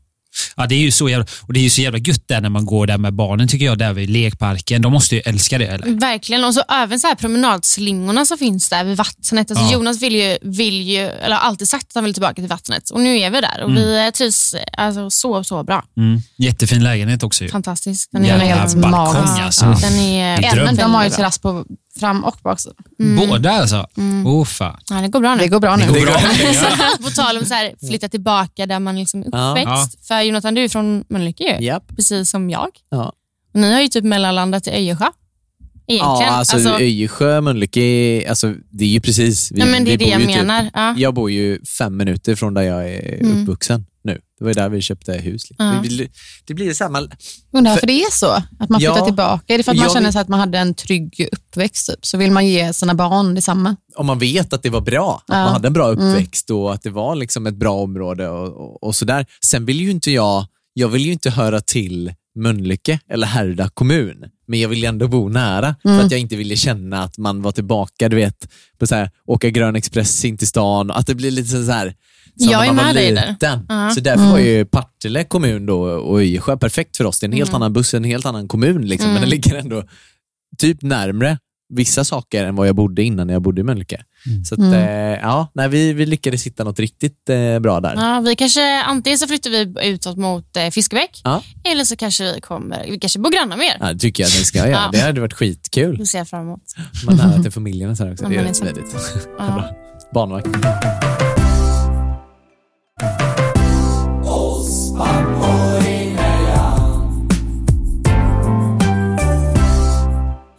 S4: Ja, det är ju så jävla, och det är ju så jävla gött där när man går där med barnen tycker jag, där vid lekparken. De måste ju älska det eller?
S2: Verkligen. Och så även så här promenadslingorna som finns där vid vattnet. Alltså
S4: Ja.
S2: Jonas vill ju, vill ju, eller har alltid sagt att han vill tillbaka till vattnet. Och nu är vi där och vi eh, trivs alltså, så, så bra.
S4: Mm. Jättefin lägenhet också ju.
S2: Fantastiskt. Den
S4: Jävla
S1: är helt
S4: balkong
S1: magisk.
S4: alltså.
S2: Den är
S4: Vilken
S2: Dröm.
S4: dröm.
S1: Men de har ju terrass på fram och baksidan.
S4: Båda alltså?
S1: Mm.
S4: Oh, fan.
S2: Ja, det går bra
S1: Det
S2: nu.
S1: går bra nu.
S4: Det går bra.
S2: På tal om så här, flytta tillbaka där man liksom är
S6: Ja.
S2: uppväxt. För Jonathan, du är från Mölnlycke ju.
S6: Japp.
S2: Precis som jag.
S6: Ja.
S2: Och ni har ju typ mellanlandat i Öjersjö. Egentligen.
S6: Ja, alltså, Öjersjö, Mölnlycke, alltså, det är ju precis... Vi,
S2: nej, men det är
S6: vi
S2: det
S6: bor
S2: jag
S6: ju typ-
S2: menar. Ja.
S6: Jag bor ju fem minuter från där jag är
S2: Mm.
S6: uppvuxen nu. Det var ju där vi köpte hus. liksom.
S2: Ja.
S6: Det, blir, det blir samma...
S1: Undrar varför det är så? Att man flyttar
S6: Ja.
S1: tillbaka? Är det för att man
S6: Jag
S1: känner
S6: vet-
S1: så att man hade en trygg uppväxt? Typ? Så vill man ge sina barn detsamma?
S6: Om man vet att det var bra, att
S1: Ja.
S6: man hade en bra
S2: Mm.
S6: uppväxt och att det var liksom ett bra område och, och, och sådär. Sen vill ju inte jag, jag vill ju inte höra till Mölnlycke eller Härryda kommun, men jag vill ju ändå bo nära
S2: Mm.
S6: för att jag inte ville känna att man var tillbaka, du vet, på så här, åka Grön Express in till stan, att det blir lite så här som
S2: Jag
S6: när
S2: är
S6: man var
S2: med dig där.
S6: liten.
S2: Ja. Mm.
S6: Så därför var ju Partille kommun då och Öjersjö perfekt för oss. Det är en
S2: Mm.
S6: helt annan buss, en helt annan kommun, liksom. men den ligger ändå typ närmre vissa saker än vad jag bodde innan när jag bodde i Mölnlycke. Så att,
S2: Mm.
S6: eh, ja, nej, vi, vi lyckades hitta något riktigt eh, bra där.
S2: Ja, vi kanske, antingen så flyttar vi utåt mot eh, Fiskebäck
S6: Ja.
S2: eller så kanske vi kommer, vi kanske bor grannar med er.
S6: Ja, det tycker jag att ni ska göra.
S2: Ja.
S6: Det hade varit skitkul.
S2: Det ser jag fram emot.
S6: Man är nära till familjen och sådär också.
S2: Ja,
S6: Det är
S2: men
S6: rätt
S2: exakt.
S6: smidigt.
S2: Ja.
S6: Barnvakt.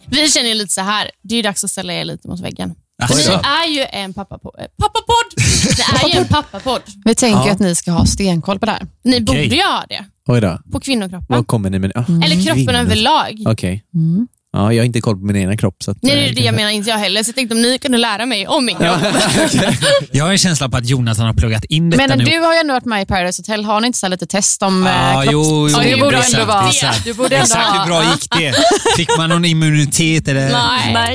S2: Vi känner ju lite så här, det är ju dags att ställa er lite mot väggen. För
S4: Alltså.
S2: ni är ju en pappapo- eh, pappapodd. Ni är ju en pappapodd.
S1: Vi tänker
S6: Ja.
S1: att ni ska ha stenkoll på det här.
S2: Ni borde
S4: Okej.
S2: ju ha det
S6: Oj då,
S2: på kvinnokroppen.
S6: vad kommer ni med? Oh,
S2: Eller kroppen överlag.
S6: Okej. Ja, jag har inte koll på min egna kropp. Så att,
S2: Nej, det
S6: eh,
S2: är det jag menar, inte jag heller. Så jag tänkte om ni kunde lära mig om min kropp.
S4: Jag har en känsla på att Jonathan har pluggat in detta
S1: Men
S4: nu.
S1: du har ju ändå varit med i Paradise Hotel. Har ni inte så här lite test om
S4: Ja,
S1: eh,
S4: jo, jo,
S1: Ja,
S4: det
S1: det
S4: är
S1: borde
S4: sant,
S1: ändå
S4: det
S1: vara.
S4: är sant.
S1: Du borde ändå
S4: Exakt
S1: ha.
S4: hur bra gick det? Fick man någon immunitet? Eller?
S2: Nej.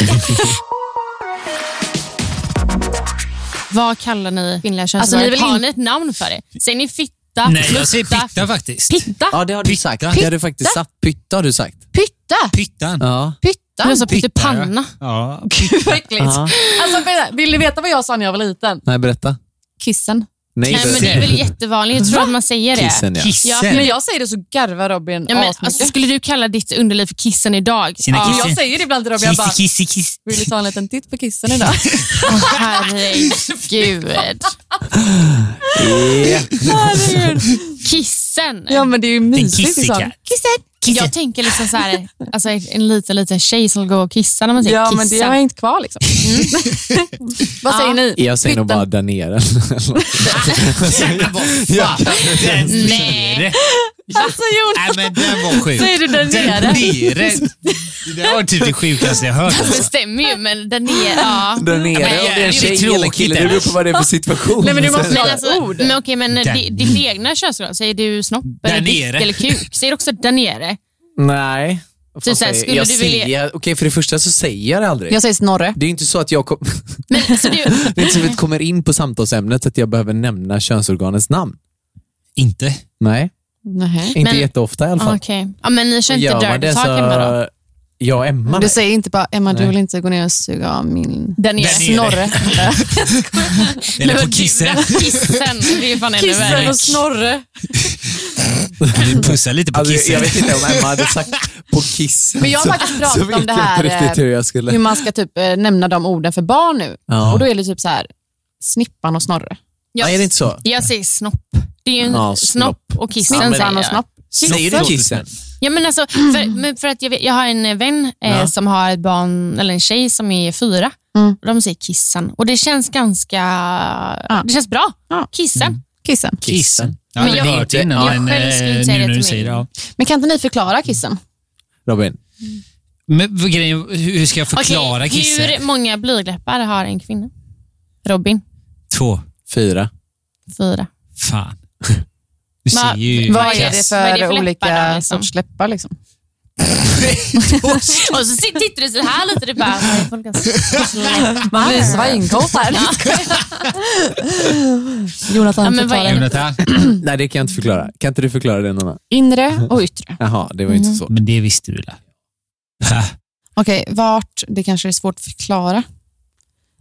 S2: Vad kallar ni kvinnliga
S1: Alltså, ni
S2: könsorgan?
S1: vill
S2: har
S1: in-
S2: ni ett namn för det? Säger ni fitta,
S4: Nej, jag säger
S2: flutta,
S4: pitta faktiskt.
S2: Pitta?
S6: Ja, det har du
S4: Pytta.
S6: sagt. Det har du faktiskt sagt. Pytta har du sagt.
S1: Pytta!
S4: Pyttan.
S6: Ja.
S1: Pytta!
S2: Du sa
S4: Pitta,
S2: pyttipanna.
S4: Ja.
S1: Gud vad äckligt.
S6: Ja.
S1: Alltså, vill du veta vad jag sa när jag var liten?
S6: Nej, berätta.
S1: Kissen.
S6: Nej,
S2: Nej, men det är väl jättevanligt. Jag tror att man säger det.
S6: Kissen, ja.
S4: Kissen.
S2: Ja,
S1: När jag säger det så garvar Robin
S2: Ja, men,
S1: asmycket.
S2: alltså, skulle du kalla ditt underliv för kissen idag?
S4: Sina
S2: Ja.
S4: kiss-
S1: jag säger det ibland till Robin, jag bara,
S4: Kissi, kissi, kissi.
S1: vill du ta en liten titt på kissen idag?
S2: Åh, herregud. Kissen.
S1: ja men det är ju mysigt.
S4: kissig
S1: Liksom.
S4: katt.
S1: Kissen!
S2: Jag tänker liksom så här, alltså en liten, liten tjej som går och kissar när man säger
S1: Ja
S2: kissen.
S1: men det Mm. har jag inte kvar liksom. vad säger
S2: Ja.
S1: ni?
S6: Jag säger nog
S1: Pytten.
S6: bara där nere.
S4: Den
S2: Nej.
S4: nere.
S1: Alltså Jonas,
S4: Nej, men den var sjuk.
S1: säger du där
S4: Den
S1: nere?
S4: nere. Det där var typ det sjukaste jag hört. alltså.
S2: Det stämmer ju, men den är... Ja.
S6: där
S1: Mm.
S6: nere, om det är en
S4: jävligt
S6: tjej eller
S4: tråkigt
S6: kille. Det
S4: det.
S6: beror på vad det är för situation.
S1: Nej men du måste
S2: Men,
S1: ha
S2: alltså,
S1: ett ord.
S2: men okej, men
S4: Den-
S2: di- ditt egna könsorgan, säger du snopp
S4: Där
S2: eller dick
S4: nere.
S2: eller kuk? Säger du också där nere?
S6: Nej. Vad
S1: Typ
S6: fan
S2: så här,
S6: säger-
S2: skulle
S6: jag
S2: du vilja-
S6: säger, Okej, för det första så säger jag det aldrig.
S1: Jag säger Snorre.
S6: Det är ju inte så att jag kom...
S2: Men, så du,
S6: det är inte så att vi kommer in på samtalsämnet att jag behöver nämna könsorganets namn.
S4: Inte.
S6: Nej,
S1: Nej.
S6: inte
S2: Men-
S6: jätteofta i alla fall.
S2: Ah, Okej. Ja, men ni kör
S6: Och
S2: inte
S6: gör man
S2: dirty
S6: det
S2: talk hemma då?
S6: så... Jag och Emma.
S1: Du säger inte bara, Emma du
S6: Nej.
S1: vill inte gå ner och suga av min
S2: Där nere.
S4: Där nere.
S1: Snorre.
S4: Eller
S2: Men
S4: på
S2: du,
S4: kissen.
S2: Kissen, det är ju fan ännu
S1: Kissen
S2: värre.
S1: och Snorre.
S4: Pussa lite på
S6: Alltså, jag- jag
S4: kissen.
S6: vet inte om Emma hade sagt på kissen.
S1: Men jag har faktiskt pratat om det här,
S6: Så vet jag inte riktigt
S1: eh,
S6: hur jag skulle...
S1: Hur man ska typ eh, nämna de orden för barn nu.
S6: Ja.
S1: Och då är det typ så här, Snippan och Snorre.
S2: Jag,
S6: Nej, är det inte så?
S2: jag säger snopp. Det är ju en
S6: Ja,
S2: snopp. och kissen
S1: Snippan
S2: säger
S1: och
S2: jag.
S1: Snopp. Mm.
S6: Säger du kissen?
S2: Ja, men alltså, för, men för att jag, vet, jag har en vän eh,
S6: Ja.
S2: som har ett barn, eller en tjej som är fyra.
S1: Mm.
S2: De säger kissen och det känns ganska... Det känns bra.
S1: Ja.
S2: Kissen.
S6: Mm.
S1: Kissen.
S4: Kissen. Ja,
S2: Men
S4: men jag
S2: jag-
S4: har hört det innan,
S2: jag
S4: men
S2: själv
S4: eh,
S2: skulle
S4: nu
S2: inte säga det
S4: när du
S2: till
S4: säger det.
S2: mig.
S4: Ja.
S1: Men kan inte ni förklara kissen?
S6: Robin?
S4: Men vad grejen, hur ska jag
S2: Okej,
S4: förklara kissen?
S2: Hur många blygdläppar har en kvinna? Robin,
S4: Två.
S6: Fyra.
S2: fyra.
S4: Fan. Du
S2: Va-
S4: ser ju...
S2: vad
S1: Vad är det
S2: Vad är det
S1: för
S2: för läppar då,
S1: olika
S2: liksom?
S1: sorts läppar? Liksom?
S2: Och så sit- tittar du så här lite. Du bara, "Nej, folk har släppt."
S3: Man blir svinkåt här. Jonathan
S2: Ja,
S3: ja,
S2: men vad är det?
S4: Jonathan.
S1: Mm.
S6: Nej, det kan jag inte förklara. Kan inte du förklara det, Nonna?
S1: Inre och yttre.
S6: Jaha, det var ju
S2: Mm.
S6: inte så.
S4: Men det visste du väl?
S1: Okej, vart, det kanske är svårt att förklara.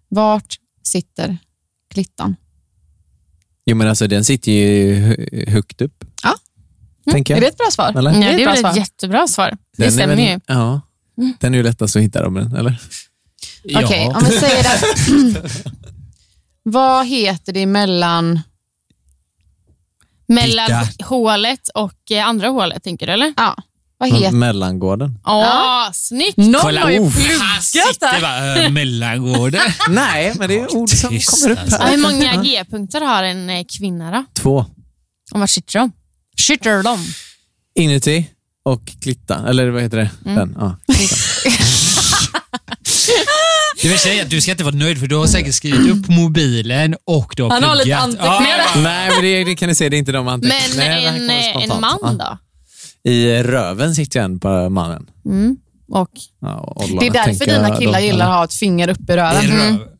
S1: Vart sitter klittan?
S6: Jo, men alltså den sitter ju hö- högt upp.
S1: Ja.
S6: Tänker
S1: Är
S6: jag.
S1: det ett bra svar?
S6: Eller?
S2: Mm, Ja,
S1: Mm, Det är
S2: det är
S1: bra
S2: väl
S1: svar.
S2: ett jättebra svar.
S6: Den
S2: Det
S6: är
S2: stämmer
S6: väl-
S2: ju. Mm.
S6: Ja. Den är ju lättast att hitta dem, eller?
S1: Okej, om vi säger det. Vad heter det mellan...
S2: Mellan
S4: Titta.
S2: hålet och eh, andra hålet, tänker du eller?
S1: Ja, vad heter...
S6: Mellangården.
S2: Ja,
S1: Mm. Ja.
S2: snyggt.
S6: Mm.
S1: Någon
S4: Kolla,
S1: har ju
S4: oh, han
S1: pluggat
S4: sitter
S1: där.
S4: bara, eh, mellangården.
S6: Nej, men det är ord som
S4: Tyst,
S6: kommer upp här.
S2: Ja, hur många G-punkter har en eh, kvinna då?
S6: Två.
S2: Och var sitter de? Sitter de?
S6: Inuti och klitta. Eller vad heter det?
S2: Mm.
S6: Den. Ja.
S4: Det vill säga att du ska inte vara nöjd för du har säkert skrivit upp mobilen och du har
S3: Han har lite
S4: pluggat.
S3: anteckningar
S4: Ja,
S6: Nej, men det, det kan ni se, det är inte de
S2: Men
S6: anteckningarna. Nej, det här
S2: en,
S6: kommer
S2: eh, en
S6: spontant.
S2: man
S6: Ja.
S2: då?
S6: I röven sitter ju en på mannen.
S2: Mm. Och
S6: Ja, och ollarna,
S1: Det är därför
S6: tänker
S1: dina
S6: jag,
S1: killar
S6: de-
S1: gillar att ha ett finger upp i
S4: I
S1: röven.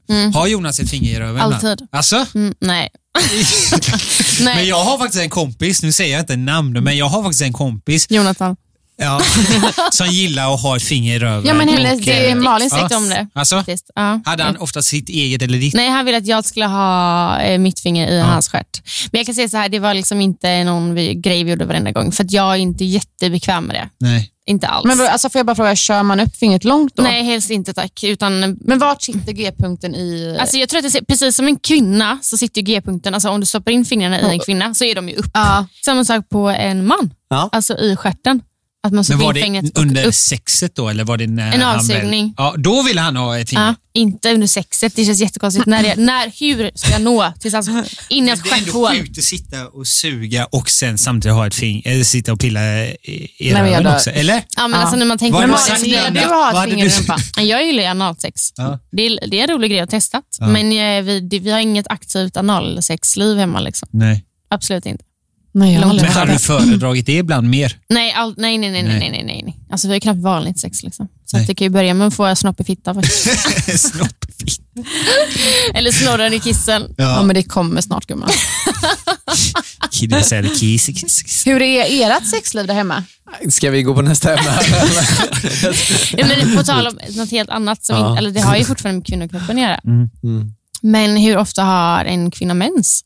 S4: röv. Har Jonas ett finger i röven? ibland?
S2: Mm. Alltid.
S4: Alltså?
S2: Mm, nej. nej.
S4: Men jag har faktiskt en kompis, nu säger jag inte namn, men jag har faktiskt en kompis
S2: Jonathan.
S4: ja, som gillar att ha ett finger i röven.
S2: Ja, men
S4: Och,
S2: hennes, det är
S4: eh,
S2: Malin sagt
S4: ja.
S2: om det.
S4: Alltså,
S2: Faktiskt. Ja.
S4: hade han ofta sitt eget eller ditt?
S2: Nej, han ville att jag skulle ha eh, mitt finger i hans stjärt. Men jag kan säga så här, det var liksom inte någon vi, grej vi gjorde varenda gång, för att jag är inte jättebekväm med det.
S4: Nej.
S2: Inte alls.
S1: Men vad- alltså, får jag bara fråga, kör man upp fingret långt då?
S2: Nej, helst inte tack. Utan,
S1: Men vart sitter g-punkten i...
S2: alltså jag tror att det, ser- precis som en kvinna så sitter ju g-punkten, alltså om du stoppar in fingrarna i en kvinna så är de ju upp.
S1: Ja.
S2: Samma sak på en man,
S6: Ja.
S2: alltså i stjärten. Att man
S4: Men
S2: stoppar
S4: var
S2: in fingret
S4: det
S2: och
S4: under
S2: upp.
S4: sexet då? Eller var det när
S2: En
S4: han
S2: avsugning.
S4: Väl, ja, då ville han ha ett finger.
S2: Ja, inte under sexet, det känns jättekonstigt. När, det, när, hur ska jag nå till alltså, in i hans
S4: Det är ändå
S2: stjärthål?
S4: sjukt att sitta och suga och sen samtidigt ha ett finger, eller sitta och pilla i, i
S1: men jag
S4: röven
S1: dör.
S4: också, eller?
S2: Ja, men
S1: Ja.
S2: alltså när man tänker
S4: Vad
S2: på
S4: hade
S1: Men
S4: du
S2: Malin,
S4: sagt
S1: Malin, gillar
S4: Anna?
S1: du att
S4: Vad
S1: ha ett
S4: hade
S1: finger i
S4: du sagt?
S1: rumpan?
S2: Ja, Jag gillar ju analsex.
S4: Ja.
S2: Det, är, det är en rolig grej att testa. Men eh, vi, det, vi har inget aktivt analsexliv hemma. Liksom.
S4: Nej.
S2: Absolut inte.
S1: Nej, jag har aldrig
S4: Men hade du föredragit det ibland mer?
S2: Nej, all, nej, nej, nej, nej,
S4: Nej.
S2: nej, nej, nej, nej. Alltså, vi har ju knappt vanligt sex. Liksom. Så
S4: Nej.
S2: att det kan ju börja med att få snopp i fitta. faktiskt.
S4: Snopp.
S2: Eller snorren i kissen.
S1: Ja, men det kommer snart gumman.
S4: Killen säger kiss, kiss, kiss.
S1: Hur är ert sexliv där hemma?
S6: Ska vi gå på nästa ämne?
S2: Ja, men på tal om något helt annat, som inte, eller det har ju fortfarande med kvinnokroppen att göra.
S6: Mm.
S2: Men hur ofta har en kvinna mens?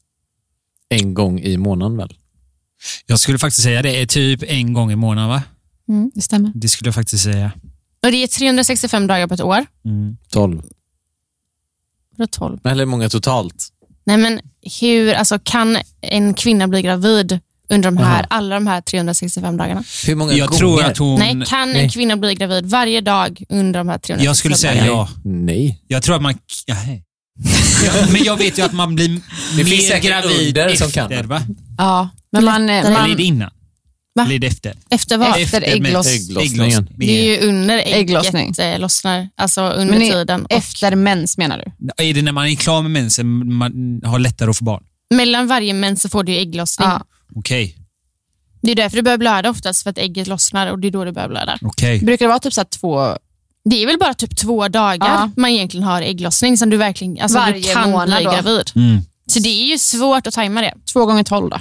S6: en gång i månaden väl?
S4: Jag skulle faktiskt säga det är typ en gång i månaden, va?
S1: Det stämmer.
S4: Det skulle jag faktiskt säga.
S2: Och det är 365 dagar på ett år.
S4: Mm.
S6: 12.
S2: Då 12.
S6: Eller många totalt.
S2: Nej, men hur, alltså, kan en kvinna bli gravid under de här, alla de här 365 dagarna?
S6: Hur många
S4: Jag
S6: gånger?
S4: tror att hon...
S2: Nej, kan en kvinna bli gravid varje dag under de här 365
S4: Jag skulle säga
S2: dagarna?
S4: ja.
S6: Nej.
S4: Jag tror att man... Ja, hej. Ja, men jag vet ju att man blir
S6: Det finns
S4: mer
S6: säkert
S4: gravid
S6: under
S4: efter,
S6: som kan.
S4: va?
S1: Ja, men man, eh,
S4: Eller är
S1: man,
S4: det innan?
S2: Va?
S4: Eller är det efter?
S2: Efter vad?
S1: Efter äggloss-
S6: ägglossningen.
S4: Ägglossning.
S2: Det är ju under
S1: Ägglossning.
S2: ägget eh, lossnar, alltså under
S1: Men i-
S2: tiden. Och
S1: efter mens menar du?
S4: Är det när man är klar med mensen man har lättare att få barn?
S2: mellan varje mens så får du ju ägglossning.
S1: Ja.
S4: Okej,
S2: Det är därför du börjar blöda oftast, för att ägget lossnar och det är då du börjar blöda.
S4: okej.
S1: Brukar det vara typ så här två...
S2: Det är väl bara typ två dagar
S1: Ja.
S2: man egentligen har ägglossning som du verkligen alltså du
S1: Varje
S2: kan
S1: månad
S2: bli
S1: då.
S2: gravid.
S4: Mm.
S2: Så det är ju svårt att tajma det.
S1: Två gånger tolv då?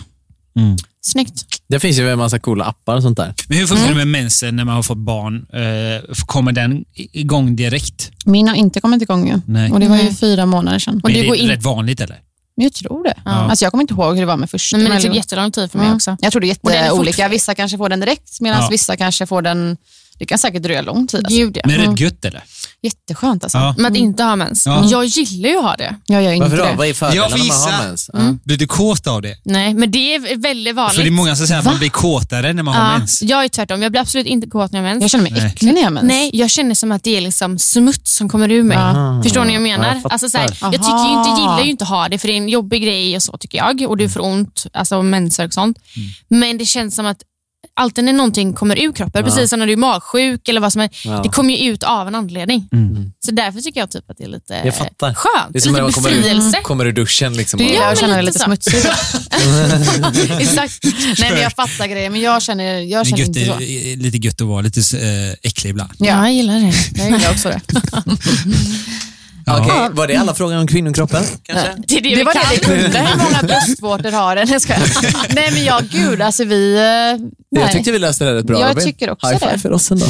S4: Mm.
S2: Snyggt.
S6: Det finns ju en massa coola appar och sånt där.
S4: Men hur
S1: Mm.
S4: funkar det med mensen när man har fått barn? Eh, kommer den i- igång direkt?
S1: Min har inte kommit igång ju.
S4: Nej.
S1: Och det var ju
S2: Nej.
S1: fyra månader sedan. Och
S4: är
S1: det
S4: det
S1: går in...
S4: rätt vanligt eller?
S1: Men jag tror det.
S2: Ja.
S1: Alltså, jag kommer inte ihåg hur det var med första.
S2: Nej, men det
S1: eller-
S2: tog jättelång tid för mig
S1: Mm.
S2: också.
S1: Jag tror det är
S2: Och den är
S1: jätteolika. Vissa kanske får den direkt medan
S4: Ja.
S1: vissa kanske får den... Det kan säkert dröja lång tid. Alltså.
S2: Gud, ja.
S4: Men är
S2: Mm.
S4: det gött eller?
S1: Jätteskönt alltså.
S4: Ja.
S2: Men att inte ha mens.
S4: Ja.
S2: Jag gillar ju att ha det.
S1: Jag gör inte
S6: Varför då?
S1: det.
S6: Vad är fördelarna
S4: Jag får
S6: med att ha
S4: gissa.
S6: mens? Mm.
S4: Blir du kåt av det?
S2: Nej, men det är väldigt vanligt.
S4: För Alltså, det är många som säger att man blir kåtare när man har
S2: ja,
S4: mens.
S2: jag är tvärtom. Jag blir absolut inte kåt när jag har
S1: Jag
S2: mens.
S1: känner mig
S4: Nej.
S1: äcklig när jag har
S6: Alltså.
S1: mens.
S2: Nej, jag känner som att det är liksom smuts som kommer ur mig. Förstår ni vad jag
S6: Ah. Ja,
S2: menar?
S6: jag fattar.
S2: alltså, så här, jag
S1: Aha.
S2: tycker ju inte, gillar ju inte att ha det, för det är
S6: Mm.
S2: en jobbig grej och så tycker jag. Och du får ont, alltså mensvärk och sånt. Men det känns som att alltid när någonting kommer ur kroppen, precis som när du är magsjuk eller vad som helst,
S6: Ja. Mm.
S2: det kommer ju ut av en anledning. Så därför tycker jag typ att det är lite
S6: Jag fattar.
S2: skönt,
S6: Det är som när
S2: lite
S6: man kommer
S2: befrielse.
S6: ur, kommer ur duschen. Liksom,
S1: Du
S6: och-
S1: gillar att känna dig
S2: lite
S1: lite
S2: så.
S1: smutsig. Exakt. Nej, men jag fattar grejen, men jag känner, jag
S4: Men
S1: känner
S4: gött
S1: inte så.
S4: är, är lite gött att vara lite eh, äcklig ibland.
S2: Ja,
S1: Ja,
S2: jag gillar det.
S1: jag gillar också det.
S6: Okej, var det alla frågor om kvinnokroppen? Kanske?
S2: Det, är det,
S1: Det
S2: vi
S1: var
S2: kan.
S1: det vi kunde. Hur många bröstvårtor har den? Jag skojar. Nej, men jag, gud, alltså vi... eh,
S6: Jag
S1: Nej.
S6: tyckte vi löste det rätt bra
S1: Jag
S6: Robin.
S1: tycker också
S6: High five
S1: det.
S6: för oss ändå.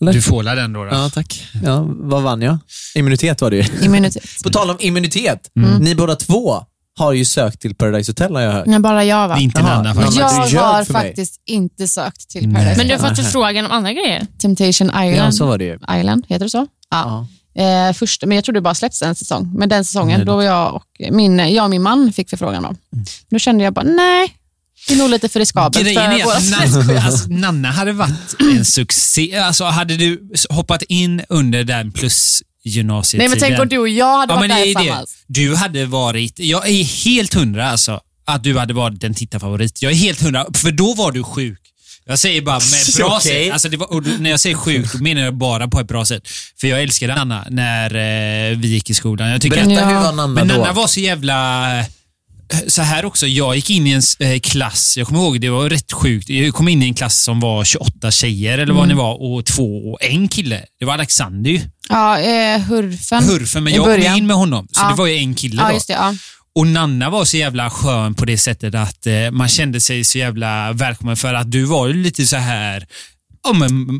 S4: Ja, du får la den då. då.
S6: Ja, tack. Ja, vad vann jag? Immunitet var det ju.
S1: Immunitet.
S6: På tal om immunitet, ni båda två har ju sökt till Paradise Hotel har jag hört.
S1: Nej, bara jag va?
S4: Det är inte
S6: Jaha,
S4: den där
S6: någon
S4: faktiskt.
S6: annan.
S1: Jag
S6: men du ljög
S1: har
S6: för mig.
S1: faktiskt inte sökt till Paradise
S2: Men du har
S1: Hotel.
S2: fått förfrågan om andra grejer.
S1: Temptation Island.
S6: Ja, så var det ju.
S1: Island, heter det så? Ja. Eh, först, men jag tror det bara släpptes en säsong. Men den säsongen, då var jag och min, jag och min man fick förfrågan om. Då kände jag bara, nej, det är nog lite för riskabelt.
S4: Grejen
S1: för
S4: är
S1: våra-
S4: att Nanna, alltså, Nanna hade varit en succé. Alltså, hade du hoppat in under den plus
S1: Nej,
S4: gymnasietiden.
S1: men tänk om du och jag hade
S4: ja, men
S1: varit
S4: det
S1: där
S4: är det.
S1: tillsammans.
S4: Du hade varit, jag är helt hundra alltså, att du hade varit en tittarfavorit. Jag är helt hundra, för då var du sjuk. Jag säger bara med bra
S6: Okej.
S4: sätt. Alltså det var, och då- när jag säger sjuk, då menar jag bara på ett bra sätt. För jag älskade Nanna när eh, vi gick i skolan. Jag tycker
S6: Berätta,
S1: Ja.
S6: hur var Nanna
S4: men
S6: då?
S4: Nanna var så jävla... eh, Så här också, jag gick in i en eh, klass, jag kommer ihåg det var rätt sjukt. Jag kom in i en klass som var 28 tjejer eller
S1: Mm.
S4: vad ni var och två och en kille. Det var Alexander ju.
S1: Ja, eh, Hurfen.
S4: Hurfen, men
S1: I
S4: jag kom
S1: början.
S4: in med honom. Så
S1: Ja.
S4: det var ju en kille
S1: Ja,
S4: då.
S1: just det. Ja.
S4: Och Nanna var så jävla skön på det sättet att eh, man kände sig så jävla välkommen för att du var ju lite så här Ja, men,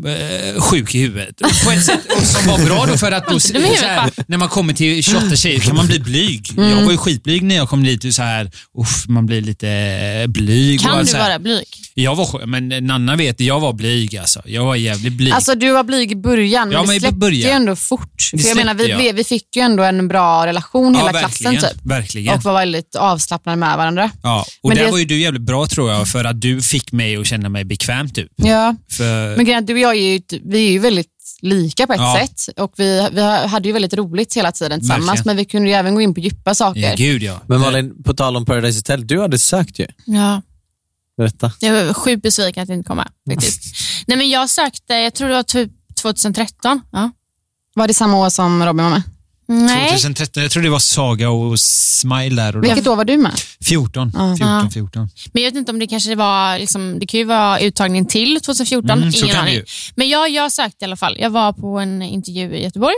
S4: eh, sjuk i huvudet. På ett sätt och som var bra då för att då, så
S2: i huvudet,
S4: här, när man kommer till 28 tjejer kan man bli blyg. Jag
S1: Mm.
S4: var ju skitblyg när jag kom dit. och Så här, uff, man blir lite eh, blyg. och
S2: Kan du
S4: så här.
S2: vara blyg?
S4: Jag var skön, men Nanna vet, jag var blyg alltså. Jag var jävligt blyg.
S1: Alltså du var blyg i början, men
S4: Ja,
S1: det
S4: men i
S1: släppte
S4: början.
S1: ju ändå fort. För jag
S4: släppte
S1: menar, vi,
S4: jag.
S1: blev, vi fick ju ändå en bra relation, hela klassen
S4: verkligen.
S1: typ.
S4: Verkligen.
S1: Och var väldigt avslappnade med varandra.
S4: Ja, och
S1: Men
S4: där
S1: det-
S4: var ju du jävligt bra tror jag för att du fick mig att känna mig bekväm typ.
S1: Ja.
S4: För,
S1: Men grejen är att du och jag är ju, typ- vi är ju väldigt lika på ett
S4: Ja.
S1: sätt och vi, vi hade ju väldigt roligt hela tiden tillsammans
S4: Verkligen.
S1: men vi kunde ju även gå in på djupa saker.
S4: ja, gud ja.
S6: Men Malin, på tal om Paradise Hotel, du hade sökt ju.
S2: Ja.
S6: Berätta.
S2: Jag var sjukt besviken att inte komma. Faktiskt. Nej, men jag sökte, jag tror det var typ 2013. Ja.
S1: Var det samma år som Robin var med?
S2: Nej,
S4: 2013, jag tror det var Saga och Smile där. Och då.
S1: Vilket år var du med?
S4: 14, 14, 14.
S2: men jag vet inte om det kanske var, liksom, det kan ju vara uttagningen till 2014.
S4: Mm, så
S2: Ingen
S4: kan det
S2: aning.
S4: ju.
S2: Men jag, jag sökte i alla fall. Jag var på en intervju i Göteborg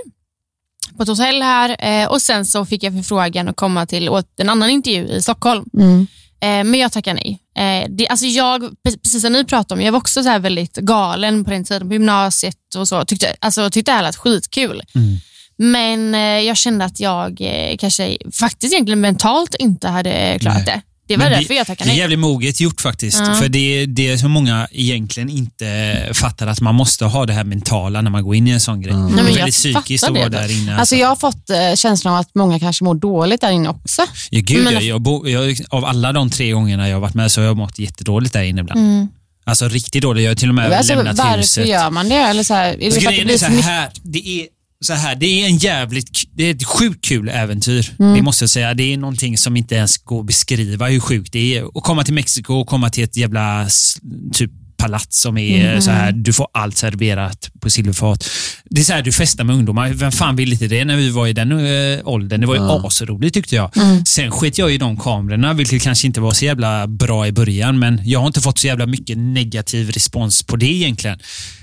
S2: på ett hotell här eh, och sen så fick jag förfrågan att komma till åt en annan intervju i Stockholm. Eh, Men jag tackar nej. Eh, Det, alltså jag, pre- precis som ni pratade om, jag var också så här väldigt galen på den tiden på gymnasiet och så. Tyckte, alltså, tyckte det här lät skitkul.
S4: Mm.
S2: Men eh, jag kände att jag eh, kanske faktiskt egentligen mentalt inte hade klarat
S4: Nej.
S2: det. Det var
S4: Men
S2: därför jag tackade
S4: Det är
S2: nej.
S4: jävligt moget gjort faktiskt.
S2: Ja.
S4: För det, är- det är så många egentligen inte fattar att man måste ha det här mentala när man går in i en sån grej. Det
S2: Nej,
S4: är
S2: men
S4: väldigt
S2: jag
S4: psykiskt
S2: fattar
S4: att vara
S2: det.
S4: där inne.
S1: Alltså jag har fått eh, känslan av att många kanske mår dåligt där inne också.
S4: ja, gud,
S2: men-
S4: jag, jag, bo, jag, av alla de tre gångerna jag har varit med så har jag mått jättedåligt där inne ibland.
S2: Mm.
S4: Alltså riktigt dåligt. Jag har till och med
S1: alltså,
S4: lämnat
S1: varför
S4: huset.
S1: gör man det? Eller så här, är det för att det
S4: Grejen är
S1: blir
S4: så
S1: för mycket?
S4: här, det är så här, det är en jävligt, k- det är ett sjukt kul äventyr. Det måste jag säga. Det är någonting som inte ens går att beskriva hur sjukt det är. Att komma till Mexiko och komma till ett jävla s- typ palats som är så här, du får allt serverat på silverfat. Det är så här, du festar med ungdomar. Vem fan vill inte det när vi var i den äh, åldern? Det var ju asroligt tyckte jag. Sen sket jag i de kamerorna, vilket kanske inte var så jävla bra i början, men jag har inte fått så jävla mycket negativ respons på det egentligen.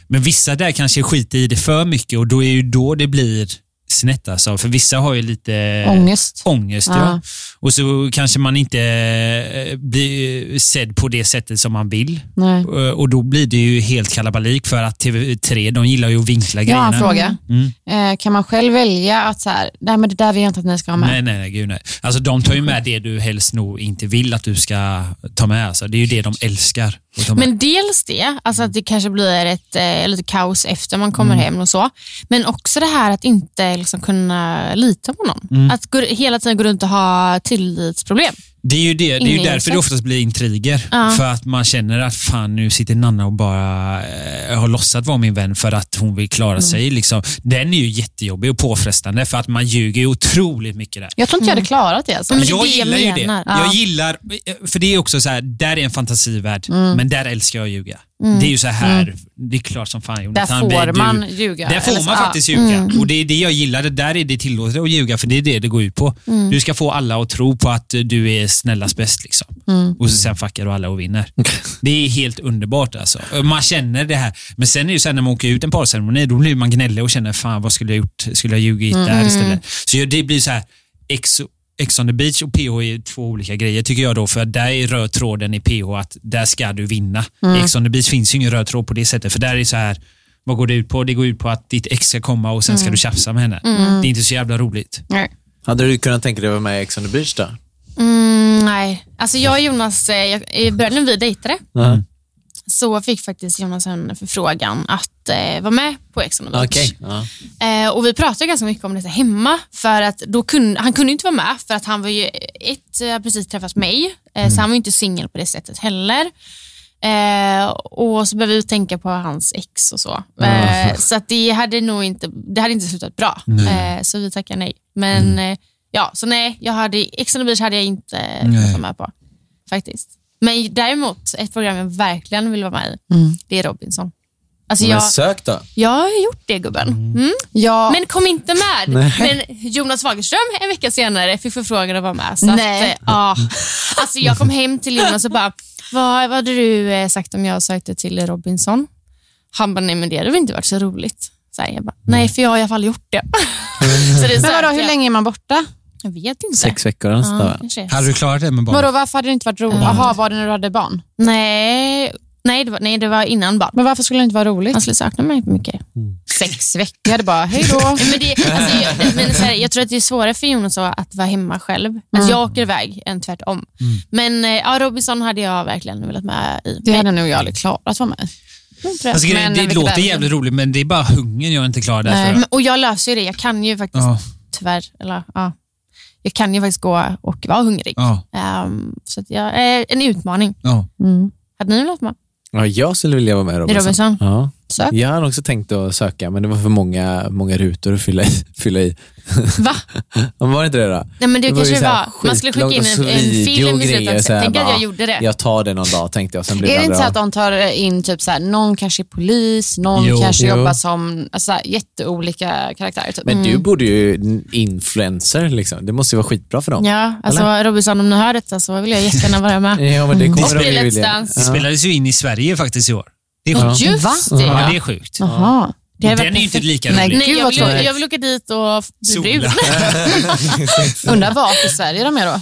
S4: Men vissa där kanske skiter i det för mycket och då är ju då det blir snett alltså. För vissa har ju lite
S1: Ångest.
S4: ångest ja.
S1: Ja.
S4: Och så kanske man inte eh, blir sedd på det sättet som man vill.
S1: Nej.
S4: Eh, Och då blir det ju helt kalabalik för att TV3 de gillar ju att vinkla
S1: Jag
S4: grejerna. Mm.
S1: har en fråga. Eh, kan man själv välja att så här, nej men det där vill jag inte att ni ska ha med?
S4: Nej, nej, nej, gud nej. Alltså de tar ju med det du helst nog inte vill att du ska ta med. Alltså, det är ju det de älskar. att ta med.
S2: Men dels det, alltså att det kanske blir ett, eh, lite kaos efter man kommer hem och så. Men också det här att inte liksom kunna lita på någon. Att gå, hela tiden gå runt och ha tillitsproblem.
S4: Det är ju, det, det är ju
S2: Ingen
S4: därför det
S2: hjälp.
S4: oftast blir intriger.
S2: Ja.
S4: För att man känner att fan nu sitter Nanna och bara eh, har låtsat vara min vän för att hon vill
S2: Mm.
S4: klara sig. Liksom. Den är ju jättejobbig och påfrestande för att man ljuger ju otroligt mycket där.
S1: Jag tror inte jag hade klarat det. Alltså.
S2: Men det är
S4: jag
S2: det jag
S4: gillar ju det.
S2: menar.
S4: Jag
S2: Ja.
S4: gillar, eh, för det är också så här, där är en fantasivärld,
S2: Mm.
S4: men där älskar jag att ljuga. Det är ju så här, det är klart som fan
S1: Där
S4: Jonathan, det-
S1: får
S4: du-
S1: man ljuga.
S4: Där
S1: Eller
S4: får
S1: så-
S4: man
S1: ja.
S4: faktiskt ljuga. Och det är det jag gillar. Det där är det tillåtet att ljuga, för det är det det går ut på. Du ska få alla att tro på att du är snällast bäst. Liksom. Och så sen fuckar du alla och vinner. Det är helt underbart. Alltså. Man känner det här. Men sen är det ju så här, när man åker ut en parceremoni, då blir man gnällig och känner, fan vad skulle jag gjort? Skulle jag ljugit där istället? Så det blir så här, ex, Ex on the beach och PH är två olika grejer tycker jag då, för där är röd tråden i PH att där ska du vinna. I Ex on the beach finns ju ingen röd tråd på det sättet, för där är det så här, vad går det ut på? Det går ut på att ditt ex ska komma och sen ska
S2: Mm.
S4: du tjafsa med henne. Det är inte så jävla roligt.
S1: Nej.
S6: Hade du kunnat tänka dig att vara med i Ex on the beach då?
S2: Mm, nej, alltså jag och Jonas, eh, jag, i början när vi dejtade,
S6: Mm.
S2: så fick faktiskt Jonas en förfrågan att eh, vara med på Ex on the Beach.
S6: Ja.
S2: Eh, och vi pratade ganska mycket om detta hemma, för att då kunde, han kunde inte vara med, för att han var ju, ett, eh, precis träffat mig, eh, så han var ju inte singel på det sättet heller. Eh, och så behöver vi tänka på hans ex och så. Eh, Så att det hade nog inte, det hade inte slutat bra. Eh, så vi tackar nej. Men eh, ja, så nej, jag hade, Ex on the Beach hade jag inte kunnat vara med på. Faktiskt. Men däremot, ett program jag verkligen vill vara med i, det är Robinson. Alltså
S6: Men
S2: jag,
S6: sök då.
S2: jag har gjort det gubben. Mm.
S1: Ja,
S2: Men kom inte med. Men Jonas Fagerström en vecka senare fick förfrågan att vara med. Så
S1: Nej.
S2: Att, eh, ja. alltså, jag kom hem till Jonas och bara, vad, vad hade du eh, sagt om jag sökte till Robinson? Han bara, nej men det hade väl inte varit så roligt. Så här, jag bara, nej
S1: Mm.
S2: för jag har i alla fall gjort det. så det är så
S1: men
S2: här
S1: vadå,
S2: att
S1: hur
S2: jag-
S1: länge är man borta?
S2: Jag vet inte.
S6: Sex veckor eller något
S2: ja,
S6: sånt där.
S2: kanske.
S4: Hade du klarat det med barn?
S1: Vadå, varför hade det inte varit roligt? Jaha, var det när du hade barn?
S2: Nej, nej, det var, nej, det var innan barn.
S1: Men varför skulle det inte vara roligt?
S2: Han skulle sakna mig mycket.
S1: Sex veckor. Jag hade bara, hej då.
S2: Nej, men det, alltså, jag, men så här, jag tror att det är svårare för Jonas att att vara hemma själv. Alltså, jag åker iväg än tvärtom.
S6: Mm.
S2: Men eh, ja, Robinson hade jag verkligen velat med i.
S1: Det hade nog jag aldrig klarat för mig.
S4: alltså, grejen-
S1: Men
S4: det
S1: vilket
S4: låter
S1: väder.
S4: jävligt roligt, men det är bara hungern jag inte klarar
S2: Nej,
S4: därför.
S2: men, eh, och jag löser ju det. Jag kan ju faktiskt,
S4: Ja.
S2: tyvärr, eller, ja, jag kan ju faktiskt gå och vara hungrig.
S4: Ja,
S2: Ehm, så att jag, eh, en utmaning.
S4: ja.
S2: Hade ni velat vara
S6: Ja, jag skulle vilja vara med i
S2: med i
S6: Robinson.
S2: Robinson?
S6: Ja.
S1: Sök.
S6: Jag hade också tänkt att söka, men det var för många, många rutor att fylla i. Fylla i.
S2: Va?
S6: Men var det inte det då?
S2: Nej, men det,
S6: var ju
S2: kanske
S6: så
S2: det
S6: här
S2: var. Man skulle skicka in
S6: skitlångt
S2: en,
S6: och så
S2: en
S6: video
S2: film
S6: och
S2: i slutet.
S6: grejer,
S2: också.
S6: så här,
S2: Tänk att
S6: bara,
S2: jag gjorde det.
S6: Jag tar det någon dag tänkte jag, sen blir
S1: Är det
S6: det
S1: inte så
S6: aldrig
S1: att
S6: av.
S1: de tar in typ så här, någon kanske är polis, någon
S4: Jo.
S1: kanske
S6: Jo.
S1: jobbar som alltså, så här, jätteolika karaktärer. Typ.
S6: Men
S2: Mm.
S6: du borde ju influencer, liksom. det måste ju vara skitbra för dem.
S2: Ja, alltså Robinson, om ni hör detta så vill jag jättegärna vara med.
S6: Ja, men det
S2: Och
S6: kommer de
S2: bli
S6: ju
S2: Let's
S6: vilja.
S2: Dance.
S4: Det spelades ju in i Sverige faktiskt i år. Det är
S2: Ja.
S4: sjukt.
S2: Just
S1: Va?
S2: det.
S4: Ja,
S2: Ja.
S4: det är sjukt.
S1: Jaha. Det hade
S4: Den är ju
S1: varit
S4: inte
S1: perfekt.
S4: lika
S1: Nej,
S4: rolig.
S1: gud.
S2: Nej, jag,
S1: vad
S2: vill,
S1: tråkigt.
S2: jag vill åka dit och bli brud.
S4: Sola.
S1: Undrar vart i Sverige de är då?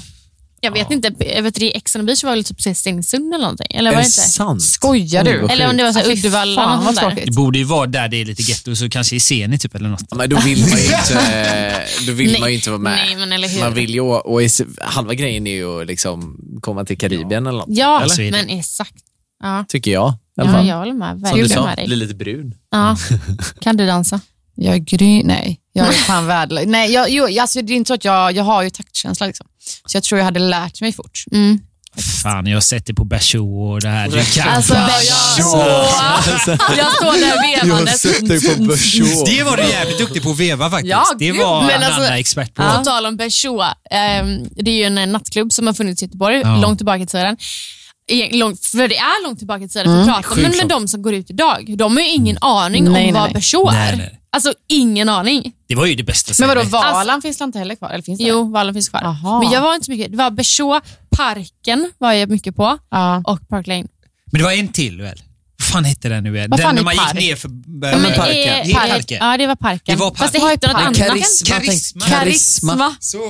S2: Jag vet inte, jag vet, i Ex on the beach var det typ så här Stenungsund eller någonting. Eller
S6: Är
S2: var
S6: det
S2: det inte?
S6: sant?
S1: Skojar
S6: Oj,
S1: du?
S6: vad
S2: Eller om det var så här Uddevalla.
S1: Ah, Fan
S2: något
S1: vad
S2: sånt där.
S1: tråkigt.
S4: Det borde ju vara där det är lite getto, så kanske i Zenit typ eller något.
S6: Ja, Men då vill man ju inte, då vill
S2: Nej.
S6: man ju inte vara med.
S2: Nej, men eller hur?
S6: Man vill ju, och i s- halva grejen är ju att liksom komma till Karibien eller något.
S2: Ja,
S4: Eller?
S2: men exakt. Ja,
S6: Tycker jag. I alla
S2: ja
S6: fall.
S2: jag håller med.
S6: Som du
S2: Verkligen
S6: sa,
S2: med
S6: bli
S2: dig.
S6: lite brun.
S2: Ja. Kan du dansa?
S1: Jag är grym. Nej, jag är fan värdelös. Nej, jag, jo, alltså, det är inte så att jag, jag har ju taktkänsla. Liksom. Så jag tror jag hade lärt mig fort.
S4: Fan, jag har sett det på Bachot och det här. Du kan
S2: Alltså,
S4: fan.
S2: jag står där vevandes.
S6: dig på Börså.
S4: Det var du jävligt duktig på att veva faktiskt.
S2: Ja,
S4: det
S2: gud,
S4: var
S2: men
S4: en
S2: alltså-
S4: annan expert på.
S2: På tal om Peugeot, ehm, det är ju en eh, nattklubb som har funnits i Göteborg
S4: Ja.
S2: långt tillbaka i tiden. E- Långt, för det är långt tillbaka i tiden, för pratar man med de som går ut idag, de har ju ingen aning
S1: Nej, nej,
S2: om vad
S1: nej.
S2: Peugeot
S4: Nej,
S2: är.
S4: nej.
S2: Alltså ingen aning.
S4: Det var ju det bästa
S1: Men vadå,
S4: sättet.
S1: Valan finns det inte heller kvar? Eller finns det?
S2: Alltså- Jo, Vallen finns kvar.
S1: Aha.
S2: Men jag var inte så mycket, det var Peugeot, Parken var jag mycket på
S1: Ja.
S2: och Park Lane.
S4: Men det var en till väl? Vad fan hette den nu igen?
S1: Vad
S4: Den
S1: fan
S4: när
S1: är
S4: man
S1: park?
S4: gick ner för...
S2: Ja,
S4: men,
S6: parken.
S2: eh,
S4: Det är parken.
S2: Ja, det var Parken.
S4: Det var
S2: Fast det
S4: parken.
S2: hette något
S1: Park.
S2: annat.
S6: Karisma.
S4: Karisma.
S6: Karisma.
S2: Karisma.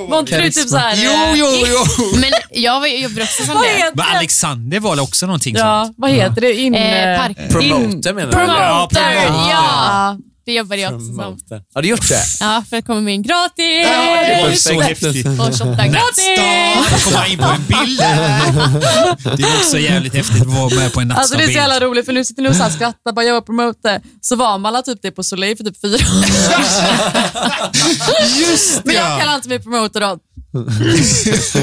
S2: Var inte du typ såhär...
S4: Jo, jo, jo.
S2: Men jag var- jag jobbade också som det.
S4: Men Alexander var väl också någonting sånt?
S1: vad heter det? In,
S2: Eh, park.
S6: Promoter menar du?
S4: Ja,
S2: Promoter,
S4: promoter.
S2: ja. Det jobbade jag också som.
S6: Promoter. Har du gjort det?
S2: Ja, för att komma med in gratis
S4: Det var
S6: Perfekt.
S4: så häftigt.
S2: och shotta gratis.
S4: Nattstan, komma in på en bild. där. Det är också jävligt häftigt att vara med på en
S3: Alltså det är så
S4: nattstan-bild.
S3: jävla roligt för nu sitter ni och så här skrattar bara jag var promoter. Så var man alla typ det på Soleil för typ fyra år sedan.
S4: Just
S3: Men
S4: det,
S3: jag
S4: ja.
S3: kallar inte mig promoter då.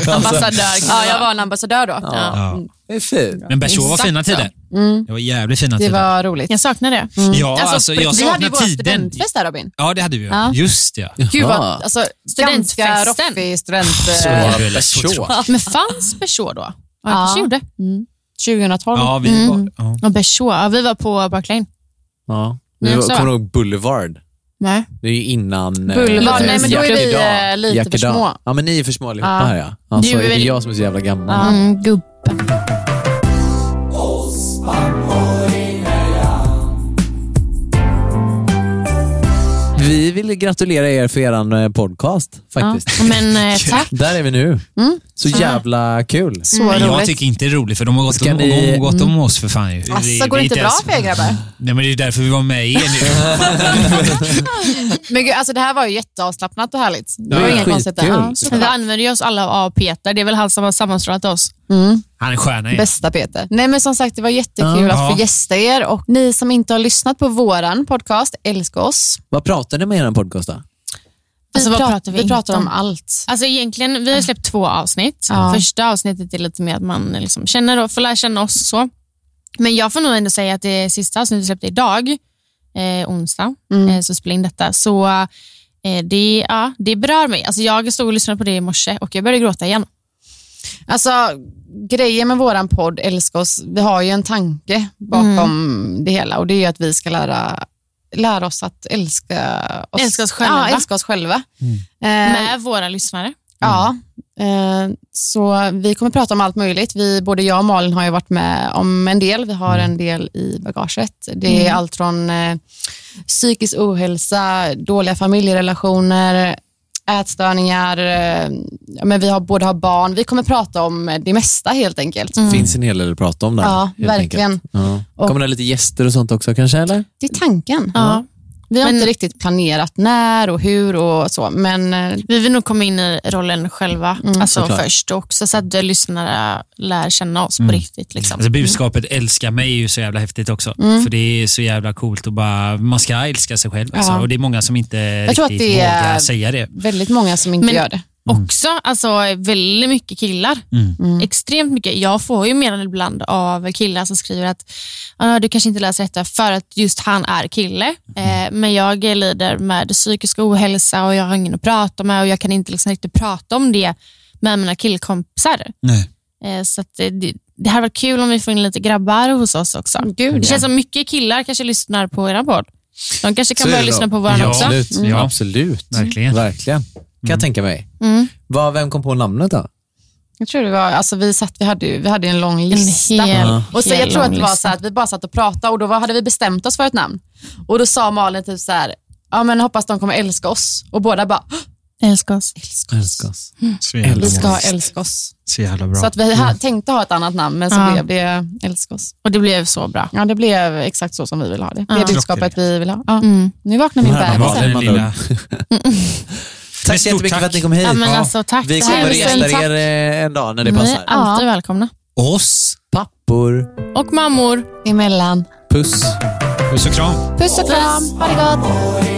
S2: Ambassadör.
S1: Ja, jag var en ambassadör då.
S6: Ja.
S4: Ja.
S6: Det är fint.
S4: Men Berså var
S2: Exakt
S4: fina
S2: så.
S4: tider.
S1: Mm.
S4: Det var jävligt fina
S1: Det
S4: tider.
S1: var roligt. Mm.
S2: Jag saknar det.
S4: Ja, alltså, jag
S1: vi hade ju
S4: saknar
S1: vår
S4: tiden.
S1: studentfest där Robin.
S4: Ja, det hade vi ju.
S1: Ja.
S4: Just det.
S1: Gud vad,
S6: Ja.
S1: alltså,
S2: Studentfesten.
S1: ganska roffig student...
S4: Ah, Så
S1: eh,
S4: var det väl.
S6: Berså.
S2: Men fanns Peugeot då? Ja, det
S1: Ja.
S2: kanske gjorde.
S1: Mm. 2012.
S4: Ja, vi
S2: Mm.
S4: var... Ja.
S2: Ja, Peugeot. Ja, vi var på Barclay.
S6: Ja.
S2: Men
S6: Vi var,
S2: också-
S6: kommer du ihåg Boulevard?
S2: Nej.
S6: Det är ju innan... eh,
S1: Boulevard,
S6: eh,
S1: nej men då är vi
S6: Jack
S1: eh, lite
S6: Jack
S1: för
S6: Idag.
S1: små.
S6: Ja, men ni är för små allihopa
S1: Ja.
S6: här ja. Alltså,
S2: Du är
S6: är det
S2: väl-
S6: jag som är så jävla gammal?
S2: Mm, gubben.
S6: Vi vill gratulera er för er eh, podcast
S2: Ja.
S6: faktiskt.
S2: Men eh, tack. Mm.
S6: Där är vi nu. Så jävla kul.
S1: Så
S4: Men Mm. Jag
S1: roligt.
S4: tycker inte det är roligt, för de har gått,
S6: Ska
S4: om,
S6: ni-
S4: de har gått om oss för fan. ju. Vi-
S1: Alltså,
S4: vi
S1: går det inte bra Mm.
S4: ens-
S1: för er grabbar?
S4: Nej, men det är ju därför vi var med er nu.
S1: Men gud, alltså, det här var ju jätteavslappnat och härligt. Det
S6: Ja,
S1: var
S6: ja.
S1: inga konstigheter.
S6: Skitkul.
S1: Ja,
S2: Men vi
S1: såklart.
S2: använder ju oss alla av Peter. Det är väl han som har sammanstrålat oss.
S1: mm.
S4: Han är stjärna igen.
S1: Bästa Peter. Nej men som sagt, det var jättekul
S4: Ja.
S1: att
S4: Ja.
S1: få gästa er och ni som inte har lyssnat på våran podcast, älska oss.
S6: Vad pratar ni med i er podcast då?
S2: Alltså, vad pratar vi
S1: vi pratar
S2: inte
S1: om
S2: om?
S1: allt.
S2: Alltså egentligen, vi har släppt två avsnitt.
S1: Ja.
S2: Första avsnittet är lite mer att man liksom känner och får lära känna oss. så. Men jag får nog ändå säga att det sista avsnittet vi släppte idag, eh, onsdag,
S1: Mm.
S2: eh, så spelar in detta. Så eh, det, ja, det berör mig. Alltså, jag stod och lyssnade på det i morse och jag började gråta igen.
S1: Alltså, grejen med våran podd Älska oss, vi har ju en tanke bakom
S2: Mm.
S1: det hela och det är ju att vi ska lära, lära oss att älska oss,
S2: Älska oss själva.
S1: Ja, älska oss själva. Eh,
S2: Med våra lyssnare.
S1: Ja,
S2: Mm.
S1: eh, så vi kommer prata om allt möjligt. Vi, både jag och Malin har ju varit med om en del. Vi har
S2: Mm.
S1: en del i bagaget. Det är allt från eh, psykisk ohälsa, dåliga familjerelationer, ätstörningar. Eh, ja, men vi har, båda har barn. Vi kommer prata om det mesta helt enkelt.
S2: Mm.
S6: finns en hel del att prata om där.
S1: Ja,
S6: helt
S1: verkligen.
S6: enkelt. Ja.
S1: Och-
S6: Kommer det lite gäster och sånt också kanske? Eller?
S1: Det är tanken.
S2: Ja.
S1: Vi har
S2: Men-
S1: inte riktigt planerat när och hur och så, men eh,
S2: Vi vill nog komma in i rollen själva alltså
S6: Såklart.
S2: först också, så att lyssnare lär känna oss på riktigt. Liksom.
S1: Mm.
S4: Alltså budskapet älska mig är ju så jävla häftigt också. För det är så jävla coolt att bara, man ska älska sig själv. Alltså.
S1: Ja.
S4: Och det är många som inte
S1: tror att
S4: riktigt
S1: det är-
S4: vågar säga det.
S1: väldigt många som inte
S2: Men-
S1: gör det.
S2: Också alltså, väldigt mycket killar. Extremt mycket. Jag får ju meddelanden ibland av killar som skriver att "Ah, du kanske inte läser detta för att just han är kille. Eh, men jag lider med psykisk ohälsa och jag har ingen att prata med och jag kan inte liksom riktigt prata om det med mina killkompisar.
S4: Nej.
S2: Eh, så att det, det, det här var kul om vi får in lite grabbar hos oss också.
S1: Gud,
S2: Det känns som mycket killar kanske lyssnar på era podd. De kanske
S6: Så
S2: kan
S6: är
S2: börja
S6: det
S2: lyssna
S6: då.
S2: på våran
S4: Ja.
S2: också.
S6: Absolut.
S4: Mm. Ja.
S6: Absolut.
S4: Verkligen.
S1: Mm.
S6: Verkligen. Kan jag tänka mig.
S2: Mm.
S6: Vad, vem kom på namnet då?
S1: Jag tror det var, alltså vi, satt, vi, hade ju, vi hade ju en lång
S2: En
S1: lista.
S2: hel,
S1: och så
S2: hel
S1: jag tror att
S2: lång
S1: det var
S2: lista.
S1: så här att vi bara satt och pratade och då var, hade vi bestämt oss för ett namn. Och då sa Malin typ så här, ja men hoppas de kommer älska oss. Och båda bara, "Åh,
S2: Älskar oss.
S1: älska oss.
S6: Älskas.
S4: Så jävla,
S1: Vi ska älska oss.
S4: så jävla bra. Mm.
S1: Så att vi ha, tänkte ha ett annat namn men så
S2: Ja.
S1: blev det älska oss.
S2: Och det blev så bra.
S1: Ja det blev exakt så som vi ville ha det. Det
S2: Ja.
S1: budskapet vi ville ha. Ja.
S2: Mm.
S1: Nu vaknar min
S6: Ja,
S4: Det var
S1: bebis. här.
S4: den lilla...
S6: Tack så
S4: stort
S6: jättemycket
S4: tack.
S6: för att ni kom hit.
S2: Ja, men
S4: Ja.
S2: alltså, tack.
S6: Vi
S2: Tack.
S6: kommer att
S1: Tusen
S6: gästa er eh, en dag när det
S2: Ni är
S6: passar.
S2: alltid välkomna.
S4: Oss.
S6: Pappor,
S2: Och mammor.
S1: Emellan.
S6: puss.
S4: Puss och kram.
S1: Puss och kram, ha det gott.